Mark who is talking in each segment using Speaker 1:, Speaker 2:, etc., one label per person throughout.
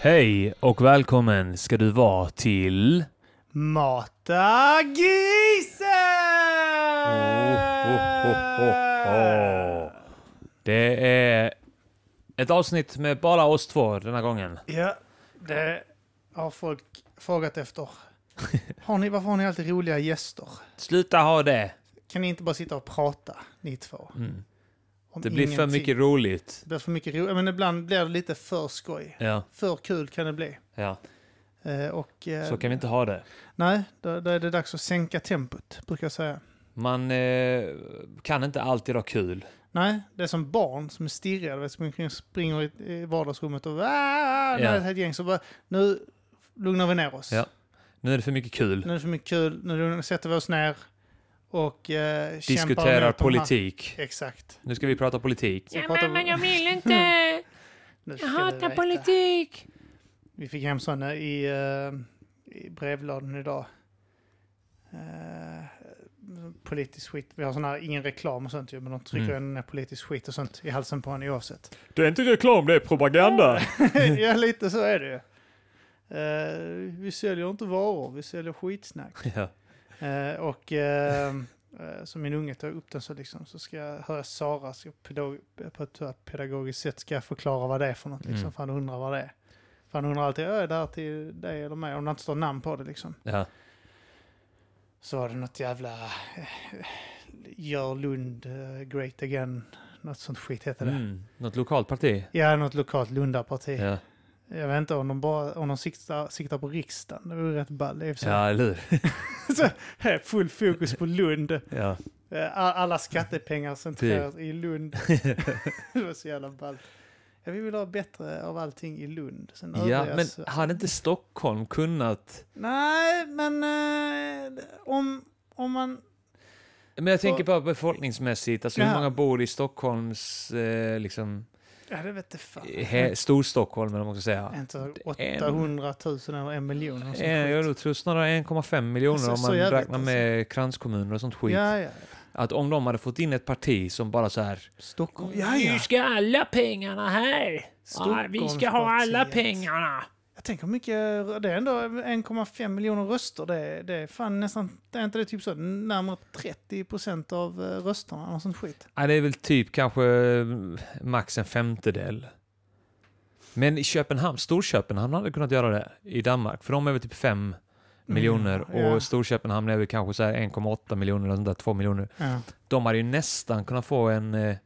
Speaker 1: Hej och välkommen ska du vara till...
Speaker 2: Mata
Speaker 1: Oh,
Speaker 2: grisen!
Speaker 1: Det är ett avsnitt med bara oss två denna gången.
Speaker 2: Ja, det har folk frågat efter. Har ni, varför har ni alltid roliga gäster?
Speaker 1: Sluta ha det.
Speaker 2: Kan ni inte bara sitta och prata, ni två?
Speaker 1: Mm.
Speaker 2: Om
Speaker 1: Det blir för
Speaker 2: ingenting?
Speaker 1: mycket roligt.
Speaker 2: Det blir för mycket roligt. Men ibland blir det lite för skoj.
Speaker 1: Ja,
Speaker 2: För kul kan det bli.
Speaker 1: ja.
Speaker 2: Eh, och, eh,
Speaker 1: Så kan vi inte ha det.
Speaker 2: Nej, då, då är det dags att sänka tempot, brukar jag säga.
Speaker 1: Man eh, kan inte alltid ha kul.
Speaker 2: Nej, det är som barn som är stirrade, vet, som omkring springer i- i vardagsrummet och "Ah!" när
Speaker 1: Ja.
Speaker 2: det är ett gäng så bara, nu lugnar vi ner oss.
Speaker 1: Ja. Nu är det för mycket
Speaker 2: Nu
Speaker 1: kul.
Speaker 2: är det för mycket kul, nu lugnar- sätter vi oss ner och eh, kämpar med
Speaker 1: Diskuterar
Speaker 2: de
Speaker 1: politik.
Speaker 2: Här. Exakt.
Speaker 1: Nu ska vi prata politik.
Speaker 2: Så pratar vi-
Speaker 3: vill inte.
Speaker 2: Nu ska vi veta.
Speaker 3: politik.
Speaker 2: Vi fick hem sådana i, eh, i brevlådan idag. Eh, politisk skit. Vi har sådana här, ingen reklam och sånt ju, men de trycker mm. ner politisk skit och sånt i halsen på en oavsett.
Speaker 1: Det är inte reklam, det är propaganda.
Speaker 2: ja,
Speaker 1: Mm.
Speaker 2: lite så är det ju. Eh, vi säljer inte varor, vi säljer skitsnack.
Speaker 1: Ja.
Speaker 2: Eh, och eh, eh, som min unge tar upp den så, liksom, så ska jag höra Sara ska pedagog, på ett pedagogiskt sätt ska jag förklara vad det är för något. Liksom,
Speaker 1: Mm.
Speaker 2: För han undrar vad det är. För han undrar alltid, är det här till dig eller mig? Om det inte står namn på det liksom.
Speaker 1: Ja.
Speaker 2: Så var det något jävla eh, Gör Lund eh, great again. Något sånt skit heter det.
Speaker 1: Mm. Något lokalt parti.
Speaker 2: Ja, något lokalt Lundaparti.
Speaker 1: Ja,
Speaker 2: Jag vet inte om de, bara, om de siktar, siktar på riksdagen. Det vore rätt ball i och för sig.
Speaker 1: ja eller hur?
Speaker 2: Så, här, Full fokus på Lund.
Speaker 1: Ja.
Speaker 2: Eh, all- Alla skattepengar centreras
Speaker 1: Typ.
Speaker 2: i Lund. det var så jävla ballt. Ja, vi vill ha bättre av allting i Lund. Sen
Speaker 1: Ja,
Speaker 2: övriga
Speaker 1: men
Speaker 2: så-
Speaker 1: hade inte Stockholm kunnat...
Speaker 2: Nej, men eh, om, om man...
Speaker 1: Men jag tänker bara befolkningsmässigt, alltså hur
Speaker 2: Ja.
Speaker 1: många bor i Stockholms, eh, liksom,
Speaker 2: Ja, det vet jag fan.
Speaker 1: he, Storstockholm eller vad man ska säga.
Speaker 2: Inte
Speaker 1: en-
Speaker 2: 800 000 eller en miljon. eller sånt
Speaker 1: Eh,
Speaker 2: skit.
Speaker 1: Jag tror snarare 1,5 miljoner
Speaker 2: Så-
Speaker 1: om
Speaker 2: så
Speaker 1: man
Speaker 2: jävligt,
Speaker 1: räknar med kranskommuner och sånt skit.
Speaker 2: Ja, ja.
Speaker 1: Att om de hade fått in ett parti som bara så här,
Speaker 2: Stockholm. Ja, ja.
Speaker 3: ska alla pengarna här. Ja, vi ska ha alla
Speaker 2: Stockholmspartiet.
Speaker 3: pengarna.
Speaker 2: Jag tänker hur mycket, det är ändå 1,5 miljoner röster. Det, är- det är fan nästan, det är inte det typ så, närmare 30 procent av eh, rösterna eller sånt skit.
Speaker 1: ja, det är väl typ kanske eh, max en femtedel. Men i Köpenhamn, Storköpenhamn hade kunnat göra det i Danmark, för de är väl typ 5 miljoner
Speaker 2: Mm, ja.
Speaker 1: och Storköpenhamn är väl kanske så här 1,8 miljoner eller sånt där, 2 miljoner.
Speaker 2: Ja.
Speaker 1: De hade ju nästan kunnat få en eh,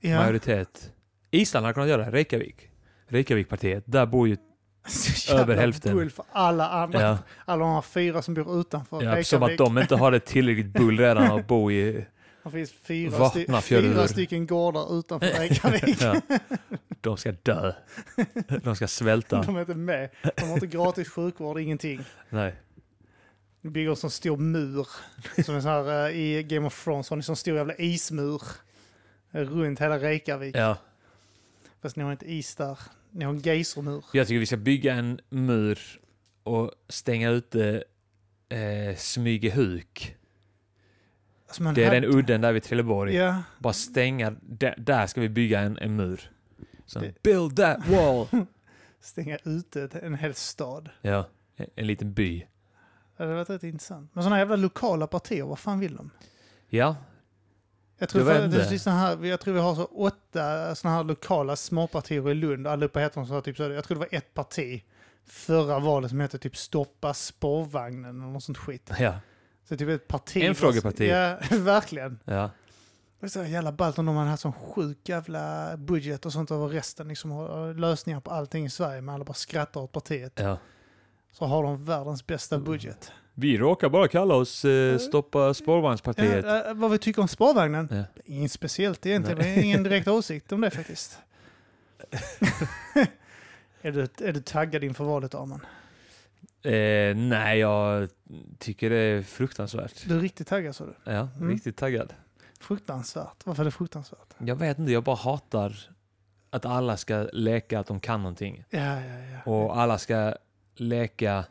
Speaker 2: Ja.
Speaker 1: majoritet. Island hade kunnat göra det. Reykjavik. Reykjavikpartiet. Där bor ju...
Speaker 2: Så jävla
Speaker 1: över hälften.
Speaker 2: bull för alla andra.
Speaker 1: Ja,
Speaker 2: Alla de här fyra som bor utanför
Speaker 1: ja,
Speaker 2: Reykjavik.
Speaker 1: som att de inte har det tillräckligt bull redan att bo i.
Speaker 2: Det finns fyra, sti-
Speaker 1: Vattenfjällur.
Speaker 2: fyra stycken gårdar utanför Reykjavik.
Speaker 1: Ja. De ska dö. De ska svälta.
Speaker 2: De är inte med. De har inte gratis sjukvård, ingenting.
Speaker 1: Nej.
Speaker 2: De bygger en sån stor mur. Som en sån här, eh, I Game of Thrones har ni en sån stor jävla ismur. eh, Runt hela Reykjavik.
Speaker 1: Ja.
Speaker 2: Fast ni har inte is där. Ni har en gejsermur.
Speaker 1: Jag tycker vi ska bygga en mur och stänga ute eh, Smygehuk.
Speaker 2: Alltså, man
Speaker 1: Det är
Speaker 2: hade-
Speaker 1: den udden där vid Trelleborg.
Speaker 2: Ja,
Speaker 1: Bara stänga. Där, där ska vi bygga en, en mur. Så,
Speaker 2: Det-
Speaker 1: build that wall!
Speaker 2: stänga ute ett- en hel stad.
Speaker 1: Ja, en, en liten by.
Speaker 2: Det hade varit rätt intressant. Men sådana jävla lokala partier, vad fan vill de?
Speaker 1: Ja,
Speaker 2: Jag tror,
Speaker 1: Jag
Speaker 2: för,
Speaker 1: vet
Speaker 2: det
Speaker 1: inte.
Speaker 2: finns såna här, jag tror vi har så åtta sådana här lokala småpartier i Lund. Allihopa heter de så här, typ så. Jag tror det var ett parti förra valet som hette typ Stoppa spårvagnen eller något sånt skit.
Speaker 1: ja,
Speaker 2: Så typ ett parti.
Speaker 1: Enfrågeparti.
Speaker 2: Ja, verkligen.
Speaker 1: ja.
Speaker 2: Det är så jävla ballt om de hade haft sån sjuk jävla budget och sånt över resten. Liksom, och- och lösningar på allting i Sverige. Men alla bara skrattar åt partiet.
Speaker 1: ja.
Speaker 2: Så har de världens bästa budget.
Speaker 1: Vi råkar bara kalla oss eh, Stoppa
Speaker 2: Ja,
Speaker 1: spårvagnspartiet.
Speaker 2: eh, vad vi tycker om spårvagnen?
Speaker 1: Ja.
Speaker 2: Inget speciellt egentligen, men ingen direkt åsikt om det faktiskt. är, du, är du taggad inför valet, Arman?
Speaker 1: Eh, nej, jag tycker det är fruktansvärt.
Speaker 2: Du är riktigt taggad, sa du.
Speaker 1: Ja,
Speaker 2: Mm.
Speaker 1: riktigt taggad.
Speaker 2: Fruktansvärt. Varför är det fruktansvärt?
Speaker 1: Jag vet inte, jag bara hatar att alla ska leka att de kan någonting.
Speaker 2: Ja, ja, ja.
Speaker 1: Och alla ska leka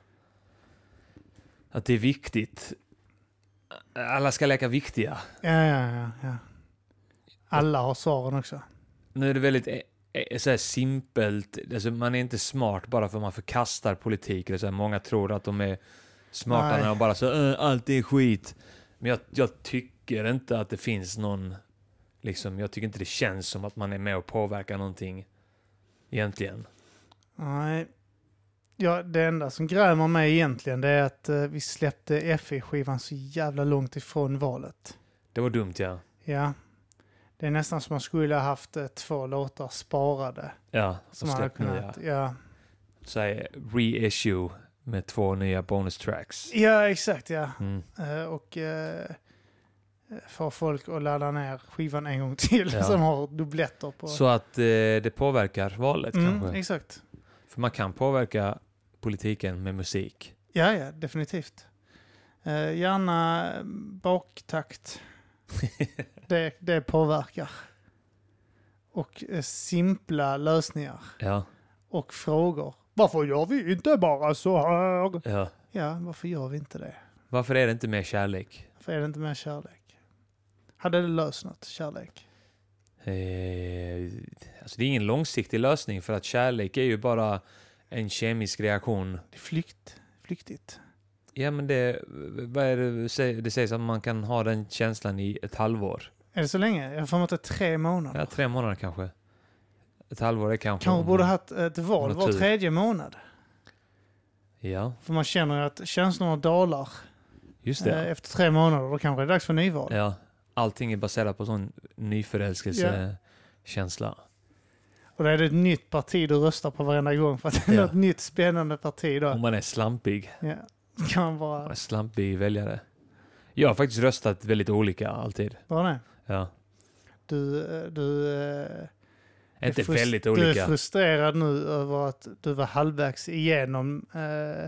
Speaker 1: att det är viktigt. Alla ska leka viktiga.
Speaker 2: ja, ja, ja, ja. Alla har svaren också.
Speaker 1: Nu är det väldigt e- e- är så här simpelt, alltså man är inte smart bara för att man förkastar politik. Eller så här, många tror att de är smarta
Speaker 2: Nej.
Speaker 1: när de bara så äh, allt är skit. Men jag, jag tycker inte att det finns någon, liksom, jag tycker inte det känns som att man är med och påverkar någonting egentligen.
Speaker 2: Nej. Ja, det enda som grämer mig egentligen det är att eh, vi släppte FE-skivan så jävla långt ifrån valet.
Speaker 1: Det var dumt ja.
Speaker 2: Ja. Det är nästan som man skulle ha haft eh, två låtar sparade.
Speaker 1: Ja,
Speaker 2: Som
Speaker 1: och
Speaker 2: man hade
Speaker 1: släpp
Speaker 2: kunnat...
Speaker 1: nya,
Speaker 2: Ja.
Speaker 1: så här, reissue med två nya bonus tracks.
Speaker 2: ja, exakt ja.
Speaker 1: Mm.
Speaker 2: Eh, Och eh, få folk att ladda ner skivan en gång till
Speaker 1: Ja.
Speaker 2: som har dubbletter på.
Speaker 1: Så att eh, det påverkar valet
Speaker 2: mm,
Speaker 1: kanske.
Speaker 2: Exakt.
Speaker 1: För man kan påverka politiken med musik.
Speaker 2: Ja, ja, definitivt. Eh, gärna eh, baktakt. det, det påverkar. Och eh, simpla lösningar
Speaker 1: Ja,
Speaker 2: och frågor. Varför gör vi inte bara så här?
Speaker 1: ja.
Speaker 2: Ja, varför gör vi inte det?
Speaker 1: Varför är det inte mer kärlek?
Speaker 2: Varför är det inte mer kärlek? Hade det löst något, kärlek?
Speaker 1: Eh, alltså det är ingen långsiktig lösning för att kärlek är ju bara en kemisk reaktion.
Speaker 2: Det är flykt, flyktigt.
Speaker 1: Ja men det, vad är det, sä- det sägs att man kan ha den känslan i ett halvår.
Speaker 2: Är det så länge? Jag har för mig att det är tre månader.
Speaker 1: Ja, tre månader kanske. Ett halvår är kanske...
Speaker 2: Kanske borde ha haft ett val
Speaker 1: Om
Speaker 2: var
Speaker 1: tur.
Speaker 2: tredje månad.
Speaker 1: Ja,
Speaker 2: För man känner ju att känslorna dalar
Speaker 1: just
Speaker 2: eh,
Speaker 1: det.
Speaker 2: efter tre månader. Då kanske det är dags för nyval.
Speaker 1: Ja. Allting är baserat på sån nyförälskelsekänsla.
Speaker 2: Och då är det ett nytt parti du röstar på varenda gång för att det är
Speaker 1: Ja. Mm.
Speaker 2: något nytt spännande parti då.
Speaker 1: Om man är slampig.
Speaker 2: Ja. Då kan man
Speaker 1: Man
Speaker 2: bara
Speaker 1: är slampig väljare. Jag har faktiskt röstat väldigt olika alltid.
Speaker 2: dra ner.
Speaker 1: Ja.
Speaker 2: Du, eh, du, eh, är
Speaker 1: Inte
Speaker 2: frus-
Speaker 1: väldigt
Speaker 2: Du är
Speaker 1: olika.
Speaker 2: frustrerad nu över att du var halvvägs igenom eh, eh,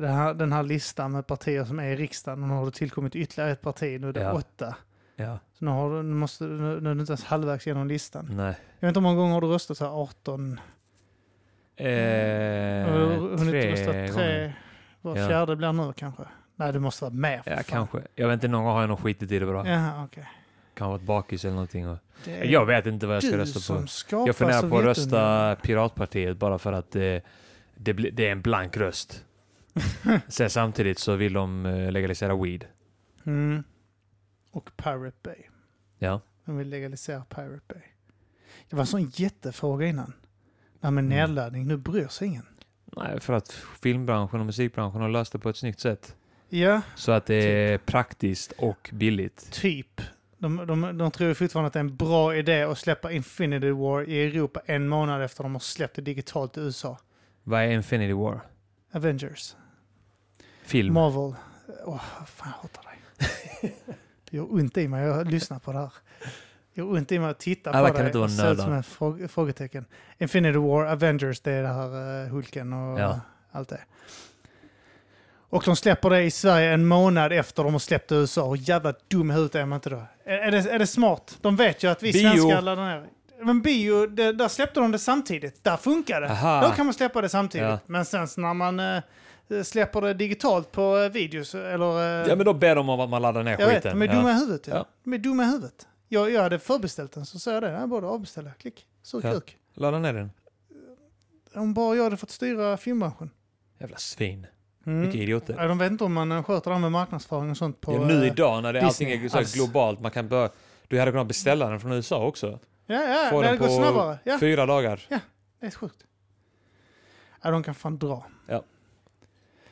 Speaker 2: det här, den här listan med partier som är i riksdagen. Och nu har det tillkommit ytterligare ett parti, nu är det
Speaker 1: Ja.
Speaker 2: åtta.
Speaker 1: Ja,
Speaker 2: Så nu, har du, nu, måste, du- nu, nu är du inte ens halvvägs genom listan.
Speaker 1: nej.
Speaker 2: Jag vet inte hur många gånger har du röstat så här 18?
Speaker 1: Eh,
Speaker 2: Mm. har du hunnit
Speaker 1: tre
Speaker 2: rösta
Speaker 1: gånger.
Speaker 2: tre? Var
Speaker 1: Ja.
Speaker 2: fjärde blir nu kanske? Nej, det måste vara mer. för
Speaker 1: Ja,
Speaker 2: fan.
Speaker 1: kanske. Jag vet inte, någon gång har jag nog skitit i det bara.
Speaker 2: Jaha, okej.
Speaker 1: Kan ha varit bakis eller någonting. Och...
Speaker 2: Det är
Speaker 1: Jag vet inte vad jag ska
Speaker 2: Eh, du
Speaker 1: rösta på.
Speaker 2: som skapar
Speaker 1: Jag funderar på att
Speaker 2: Sovjetunionen.
Speaker 1: rösta Piratpartiet bara för att eh, det, blir- det är en blank röst. Sen samtidigt så vill de eh, legalisera weed.
Speaker 2: Mm. Och Pirate Bay.
Speaker 1: Ja.
Speaker 2: De vill legalisera Pirate Bay. Det var en sån jättefråga innan. Det här med
Speaker 1: Mm.
Speaker 2: nedladdning, nu bryr sig ingen.
Speaker 1: Nej, för att filmbranschen och musikbranschen har löst det på ett snyggt sätt.
Speaker 2: Ja,
Speaker 1: Så att det är praktiskt och billigt.
Speaker 2: typ. De, de, de tror ju fortfarande att det är en bra idé att släppa Infinity War i Europa en månad efter de har släppt det digitalt i USA.
Speaker 1: Vad är Infinity War?
Speaker 2: Avengers.
Speaker 1: Film?
Speaker 2: Marvel. Åh, fan jag hatar dig. Det gör ont i mig, jag lyssnar på det här. Det gör ont i mig att titta
Speaker 1: Alla
Speaker 2: på
Speaker 1: kan
Speaker 2: det.
Speaker 1: inte vara
Speaker 2: det ser ut
Speaker 1: nördar.
Speaker 2: som en fråge, frågetecken. Infinity War, Avengers, det är det här eh, Hulken och
Speaker 1: Ja.
Speaker 2: allt det. Och de släpper det i Sverige en månad efter de har släppt det i USA. Hur jävla dum i huvudet är man inte då? Är, är, det, är det smart? De vet ju att vi
Speaker 1: Bio.
Speaker 2: svenskar laddar ner. Men bio, det, där släppte de det samtidigt. Där funkar det.
Speaker 1: Aha.
Speaker 2: Där kan man släppa det samtidigt.
Speaker 1: Ja.
Speaker 2: Men sen så när man eh, släpper det digitalt på eh, videos eller... eh,
Speaker 1: Ja, men då ber de om att man laddar ner
Speaker 2: jag vet,
Speaker 1: skiten.
Speaker 2: de är dumma i huvudet. Ja.
Speaker 1: Ja.
Speaker 2: De är dumma i huvudet. Jag, jag hade förbeställt den, så sa jag det. Jag borde avbeställa. Klick. Sur
Speaker 1: Ja.
Speaker 2: kuk.
Speaker 1: ja. Ladda ner den.
Speaker 2: Om bara jag hade fått styra filmbranschen.
Speaker 1: Jävla svin.
Speaker 2: Mm.
Speaker 1: Vilka idioter.
Speaker 2: Ja, de vet inte om man eh, sköter det här med marknadsföring och sånt på...
Speaker 1: ja, nu
Speaker 2: eh,
Speaker 1: idag när det, allting
Speaker 2: Disney,
Speaker 1: är så här
Speaker 2: alls.
Speaker 1: globalt, man kan börja... Du hade kunnat beställa den från USA också.
Speaker 2: Ja, ja,
Speaker 1: Få den
Speaker 2: det hade gått
Speaker 1: på
Speaker 2: snabbare. Ja,
Speaker 1: Fyra dagar.
Speaker 2: det är sjukt. Ja, de kan fan dra.
Speaker 1: Ja.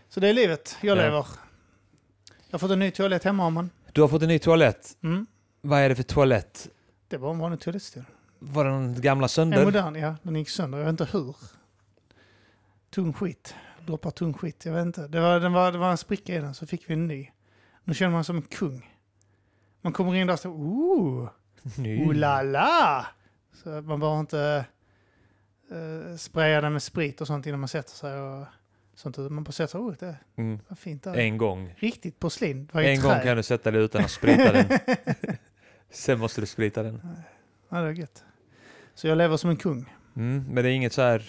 Speaker 2: Så det är livet jag
Speaker 1: Ja.
Speaker 2: lever. Jag har fått en ny toalett hemma, har man.
Speaker 1: Du har fått en ny toalett.
Speaker 2: Mm.
Speaker 1: Vad är det för toalett?
Speaker 2: Det var en vanlig toalettstol.
Speaker 1: Var den gamla
Speaker 2: En
Speaker 1: sönder?
Speaker 2: modern, ja. Den gick sönder. Jag vet inte hur. Tung skit. Droppar tung skit. Jag vet inte. Det var, den var, det var en spricka i den, så fick vi en ny. Nu känner man sig som en kung. Man kommer in där och står ooh,
Speaker 1: Ny.
Speaker 2: oh la la! Så att man behöver inte eh, spraya den med sprit och sånt innan man sätter sig. Och sånt. utan Man bara sätter sig, oh, det
Speaker 1: Mm.
Speaker 2: var fint där.
Speaker 1: En gång.
Speaker 2: Riktigt porslin. Det var ju
Speaker 1: En
Speaker 2: trä.
Speaker 1: gång kan du sätta dig utan att sprita den. Sen måste du sprita den.
Speaker 2: Ja, det var gött. Så jag lever som en kung.
Speaker 1: Mm. Men det är inget så här...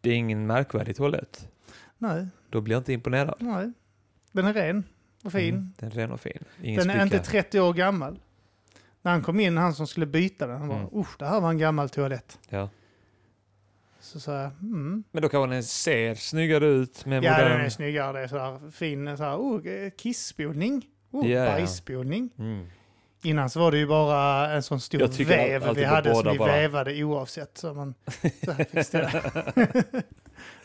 Speaker 1: Det är ingen märkvärdig toalett.
Speaker 2: Nej,
Speaker 1: Då blir jag inte imponerad.
Speaker 2: nej. Den är ren och fin.
Speaker 1: Mm. Den är ren och fin. Ingen
Speaker 2: Den är
Speaker 1: spricka.
Speaker 2: inte 30 år gammal. När han kom in, han som skulle byta den, han bara
Speaker 1: Mm.
Speaker 2: usch, det här var en gammal toalett.
Speaker 1: Ja.
Speaker 2: Så sa jag, mm.
Speaker 1: Men då kanske den ser snyggare ut med
Speaker 2: Ja,
Speaker 1: modern...
Speaker 2: den är snyggare. Det är så här fin så här, oh, kisspolning. Oh,
Speaker 1: Ja, ja.
Speaker 2: bajsspolning.
Speaker 1: Mm.
Speaker 2: Innan så var det ju bara en sån stor
Speaker 1: Jag tycker
Speaker 2: väv
Speaker 1: alltid
Speaker 2: vi
Speaker 1: på
Speaker 2: hade
Speaker 1: båda
Speaker 2: som vi
Speaker 1: bara.
Speaker 2: vävade oavsett. Så man så här fick ställa.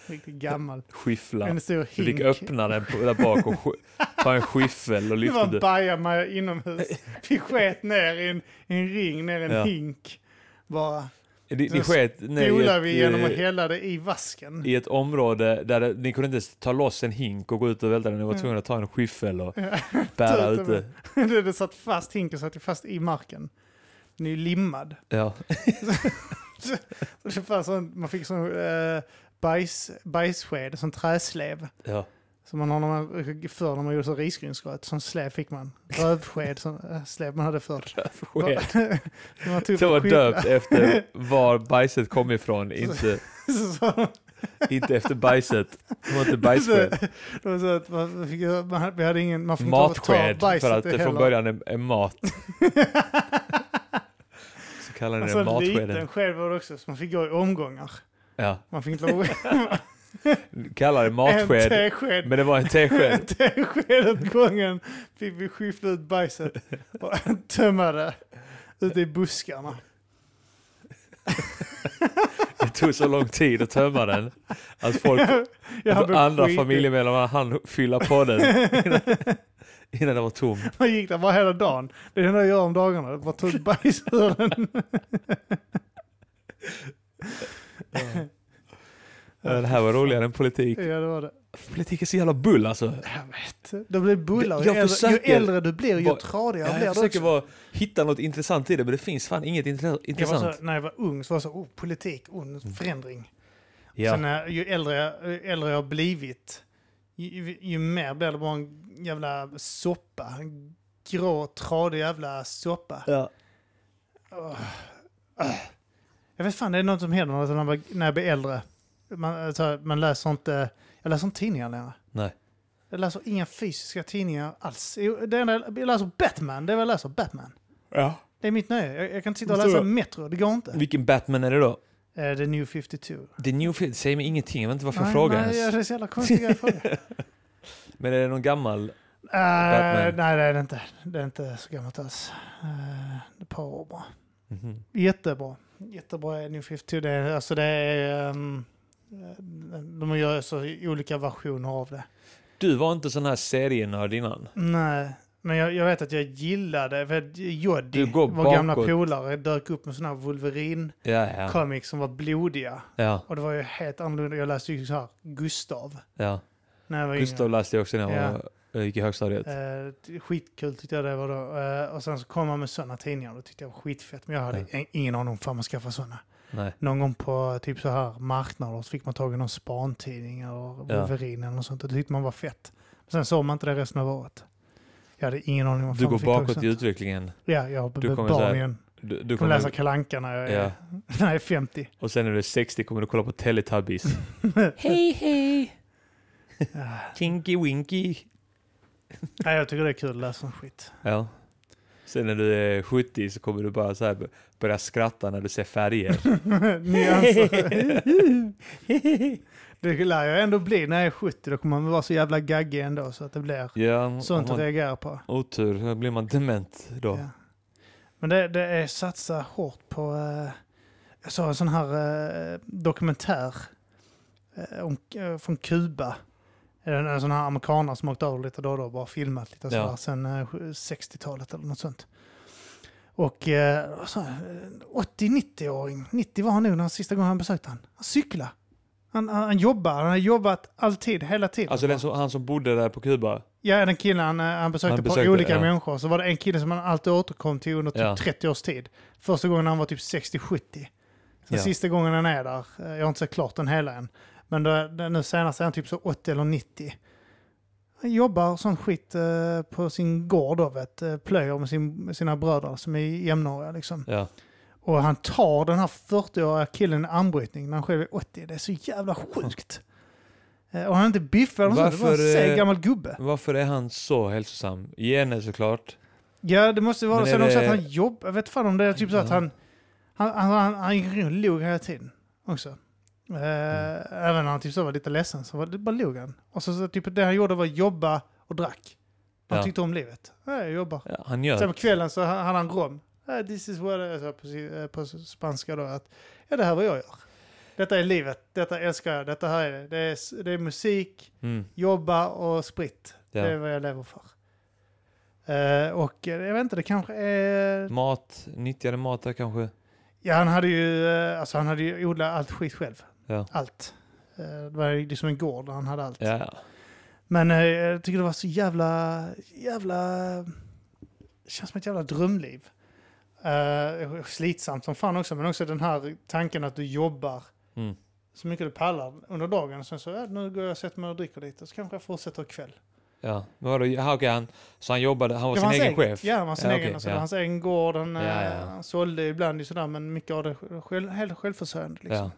Speaker 2: Riktigt gammal.
Speaker 1: Skiffla.
Speaker 2: En stor
Speaker 1: Du fick
Speaker 2: hink.
Speaker 1: öppna den på, där bak och sk- ta en skiffel och
Speaker 2: Det var
Speaker 1: lyfta
Speaker 2: en
Speaker 1: den.
Speaker 2: bajamaja inomhus. Vi sket ner i en, i en ring, ner i en
Speaker 1: Ja.
Speaker 2: hink. Bara
Speaker 1: Ni, ni
Speaker 2: sen
Speaker 1: sket ner i
Speaker 2: spolade vi genom att
Speaker 1: ett, eh,
Speaker 2: hälla det i vasken.
Speaker 1: i ett område där det, ni kunde inte ens ta loss en hink och gå ut och välta den. Ni var
Speaker 2: Ja.
Speaker 1: tvungna att ta en skiffel och
Speaker 2: Ja.
Speaker 1: bära
Speaker 2: Mm. Ta ut
Speaker 1: ut
Speaker 2: den.
Speaker 1: det.
Speaker 2: det det satt fast, hinken satt ju fast i marken. Den är ju limmad.
Speaker 1: Ja.
Speaker 2: Så det fanns sån, man fick sån eh, bajs, bajssked, sån träslev.
Speaker 1: Ja.
Speaker 2: Som man har när man, förr när man gjorde så risgrynsgröt, sån slev fick man. Rövsked, sån eh, slev man hade förr.
Speaker 1: Sket.
Speaker 2: Som man tog upp
Speaker 1: Det var
Speaker 2: och skyfflade.
Speaker 1: döpt efter var bajset kom ifrån, inte,
Speaker 2: Så- så-
Speaker 1: inte efter bajset. Det var inte bajssked.
Speaker 2: Det var så att man fick, man, hade- vi hade ingen, man fick Alltså, inte lov att ta
Speaker 1: Matsked, för
Speaker 2: bajset
Speaker 1: att det från
Speaker 2: heller.
Speaker 1: början är, är mat. Så kallar ni
Speaker 2: Alltså
Speaker 1: det
Speaker 2: en liten
Speaker 1: matskeden.
Speaker 2: sked var det också, så man fick gå i omgångar.
Speaker 1: Ja.
Speaker 2: Man fick inte lov att...
Speaker 1: Kallar det
Speaker 2: en
Speaker 1: matsked,
Speaker 2: tesked.
Speaker 1: men det var en tesked.
Speaker 2: En tesked åt gången fick vi skyffla ut bajset och tömma det ute i buskarna.
Speaker 1: Det tog så lång tid att tömma den att folk,
Speaker 2: Jag hade
Speaker 1: Alltså, andra
Speaker 2: skitit.
Speaker 1: familjemedlemmar hann fylla på den innan, innan den var tom.
Speaker 2: Man gick där bara hela dagen. Det är det enda jag gör om dagarna. Jag bara tog ut bajs ur den.
Speaker 1: Ja, Det här var roligare än politik.
Speaker 2: Ja, det var det.
Speaker 1: Politik är så jävla bull alltså.
Speaker 2: Jag vet. Då blir det bullar.
Speaker 1: Jag
Speaker 2: Ju äldre, ju
Speaker 1: försöker-
Speaker 2: äldre du blir, ju
Speaker 1: Vad-
Speaker 2: tradigare
Speaker 1: Jag,
Speaker 2: blir du
Speaker 1: försöker
Speaker 2: också.
Speaker 1: bara hitta något intressant i det, men det finns fan inget intre-
Speaker 2: Jag var
Speaker 1: intressant. Mm.
Speaker 2: så, när jag var ung så var jag så, oh, politik, oh, förändring.
Speaker 1: ja.
Speaker 2: Sen när, ju äldre, jag- ju äldre jag har blivit, ju, ju, ju mer blir det bara en jävla soppa. En grå, tradig jävla soppa.
Speaker 1: Ja.
Speaker 2: Åh. Äh. Jag vet fan, det är något som händer alltså, när, man, när jag blir äldre. Man, alltså, man läser inte, jag läser inte tidningar längre.
Speaker 1: Nej.
Speaker 2: Jag läser inga fysiska tidningar alls. Jo, Det enda jag jag läser Batman, det är vad jag läser, Batman.
Speaker 1: Ja.
Speaker 2: Det är mitt nöje. Jag, jag kan inte sitta och
Speaker 1: Förstår
Speaker 2: läsa
Speaker 1: jag.
Speaker 2: Metro, det går inte. Eh,
Speaker 1: Vilken Batman är det då?
Speaker 2: The New 52.
Speaker 1: The New Field säger mig ingenting, jag vet inte varför jag
Speaker 2: nej,
Speaker 1: frågar
Speaker 2: nej,
Speaker 1: ens.
Speaker 2: det är så jävla konstiga frågor.
Speaker 1: Men är det någon gammal?
Speaker 2: Eh, nej, det är det inte. Det är inte så gammalt alls. Eh, det är ett par år bara.
Speaker 1: Mhm.
Speaker 2: Jättebra. Jättebra är New 52. Det är, alltså det är, ehm, eh, de gör så olika versioner av det.
Speaker 1: Du var inte sån här serienörd innan?
Speaker 2: Nej, men jag, jag vet att jag gillade, för att Joddy,
Speaker 1: Du går
Speaker 2: vår gamla
Speaker 1: bakåt.
Speaker 2: polare, dök upp med sådana här Wolverine
Speaker 1: Ja, ja.
Speaker 2: comics som var blodiga.
Speaker 1: ja,
Speaker 2: Och det var ju helt annorlunda. Jag läste ju så här Gustav
Speaker 1: ja.
Speaker 2: när jag var
Speaker 1: Gustav läste jag också när jag var- jag gick i högstadiet.
Speaker 2: yngre. Eh, skitkul tyckte jag det var då. Eh, och sen så kom han med sådana tidningar och då tyckte jag var skitfett. Men jag hade en- ingen aning om fan man skaffade sådana.
Speaker 1: Nej.
Speaker 2: Någon gång på typ så här marknader så fick man tag i någon spantidning eller Wolverine eller något sånt. Och det tyckte man var fett. Sen såg man inte det resten av året. Jag hade ingen aning om vad
Speaker 1: Du
Speaker 2: fan
Speaker 1: går
Speaker 2: fick tag i
Speaker 1: bakåt
Speaker 2: sånt.
Speaker 1: i utvecklingen.
Speaker 2: Ja, jag har
Speaker 1: Du
Speaker 2: blivit
Speaker 1: kommer
Speaker 2: barn
Speaker 1: så här-
Speaker 2: igen.
Speaker 1: Du, du
Speaker 2: Jag kommer
Speaker 1: kommer,
Speaker 2: läsa kalanka när jag, är,
Speaker 1: ja.
Speaker 2: när jag är 50.
Speaker 1: Och sen när du är 60 kommer du kolla på Teletubbies.
Speaker 3: Hej, hej!
Speaker 2: Ja.
Speaker 1: Kinky Winky.
Speaker 2: Nej, jag tycker det är kul att läsa sån skit.
Speaker 1: Ja. Sen när du är 70 så kommer du bara så här börja skratta när du ser färger.
Speaker 2: Nyanser. det lär jag ändå bli när jag är 70. Då kommer man vara så jävla gaggig ändå så att det blir
Speaker 1: Ja,
Speaker 2: sånt
Speaker 1: om
Speaker 2: att
Speaker 1: man
Speaker 2: reagera på.
Speaker 1: otur då blir man dement då.
Speaker 2: Ja. Men det, det är satsa hårt på... eh, jag såg en sån här eh, dokumentär eh, om, eh, från Kuba. En, en sån här amerikanare som åkt över lite då och då och bara filmat lite så
Speaker 1: Ja.
Speaker 2: här sen eh, 60-talet eller något sånt. Och eh, vad sa jag? Eh, 80-90-åring, 90 var han nog när sista gången han besökte han. Han cyklade. Han, han, han jobbar, han har jobbat alltid, hela tiden.
Speaker 1: Alltså den som, han som bodde där på Kuba.
Speaker 2: Ja, den killen han, eh, han besökte,
Speaker 1: Han
Speaker 2: han
Speaker 1: besökte,
Speaker 2: olika
Speaker 1: ja.
Speaker 2: människor. Så var det en kille som han alltid återkom till under typ
Speaker 1: Ja.
Speaker 2: 30 års tid. Första gången han var typ 60-70. Sen
Speaker 1: Ja.
Speaker 2: sista gången han är där, eh, jag har inte sett klart den hela än. Men då, den nu senast är han typ så 80 eller 90. Han jobbar sån skit eh, på sin gård då, vet, eh, plöjer med, sin, med sina bröder som är jämnåriga liksom.
Speaker 1: Ja.
Speaker 2: Och han tar den här 40-åriga killen i armbrytning när han själv är 80. Det är så jävla sjukt. Eh, Och han är inte
Speaker 1: eh,
Speaker 2: biffig eller något sånt, det är bara en
Speaker 1: Varför,
Speaker 2: seg
Speaker 1: eh,
Speaker 2: gammal gubbe.
Speaker 1: Varför är han så hälsosam? Gene såklart.
Speaker 2: Ja, det måste vara
Speaker 1: Men är
Speaker 2: sen också
Speaker 1: det-
Speaker 2: att han jobbar. Jag vet fan om det är typ så att
Speaker 1: Ja.
Speaker 2: han... Han, han, han, han gick runt och log hela tiden också. Eh,
Speaker 1: Mm.
Speaker 2: Även när han typ så var lite ledsen så var det bara log han. Och så, så typ det han gjorde var att jobba och drack. Han
Speaker 1: Ja.
Speaker 2: tyckte om livet. Nej, jag jobbar.
Speaker 1: Ja, han gör
Speaker 2: Sen på kvällen så ha- hade han rom. Eh, This is what I... Så på, si- eh, på spanska då att... Ja, det här är vad jag gör. Detta är livet. Detta älskar jag. Detta här är det. Det är, s- det är musik,
Speaker 1: Mm,
Speaker 2: jobba och spritt.
Speaker 1: ja.
Speaker 2: Det är vad jag lever för. Eh, och eh, jag vet inte, det kanske är...
Speaker 1: Mm. Mat, nyttjade mat där kanske.
Speaker 2: Ja, han hade ju, eh, alltså, han hade ju odlat allt skit själv.
Speaker 1: Ja.
Speaker 2: Allt. Eh, det var ju liksom en gård där han hade allt.
Speaker 1: Ja,
Speaker 2: Men eh, jag tycker det var så jävla, jävla... Det känns som ett jävla drömliv. Eh, slitsamt som fan också, men också den här tanken att du jobbar
Speaker 1: Mm.
Speaker 2: så mycket du pallar under dagen. Sen så, ja, nu går jag och sätter mig och dricker lite, och så kanske jag fortsätter kväll.
Speaker 1: ja. Men vadå, ja, okej, han, så han jobbade, han var
Speaker 2: Det
Speaker 1: sin
Speaker 2: hans
Speaker 1: egen chef?
Speaker 2: Ja, han var sin
Speaker 1: Ja,
Speaker 2: egen.
Speaker 1: okej,
Speaker 2: alltså, det
Speaker 1: ja.
Speaker 2: var hans egen gård. Han,
Speaker 1: Ja,
Speaker 2: eh,
Speaker 1: ja.
Speaker 2: han sålde ibland ju sådär, men mycket av det sj- själv, helt självförsörjande. Liksom.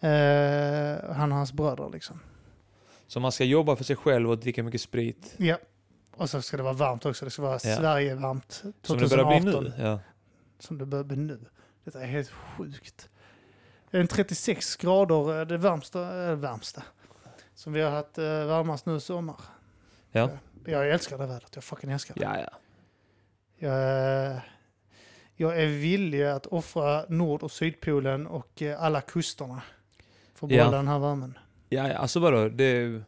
Speaker 1: Ja.
Speaker 2: Eh, han och hans bröder liksom.
Speaker 1: Så man ska jobba för sig själv och dricka mycket sprit.
Speaker 2: Ja. Och så ska det vara varmt också. Det ska vara
Speaker 1: Ja.
Speaker 2: Sverige varmt
Speaker 1: Som det börjar
Speaker 2: 2018.
Speaker 1: bli nu. Ja.
Speaker 2: Som det börjar bli nu. Detta är helt sjukt. Det är en 36 grader, eh, det varmsta, eh, varmsta. Som vi har haft eh, varmast nu i sommar. Eh,
Speaker 1: Ja.
Speaker 2: Jag älskar det vädret. Jag fucking älskar det.
Speaker 1: Ja, ja.
Speaker 2: Jag är, Eh, jag är villig att offra Nord och Sydpolen och eh, alla kusterna för att
Speaker 1: Ja.
Speaker 2: behålla den här värmen.
Speaker 1: ja, ja. Alltså vadå, det,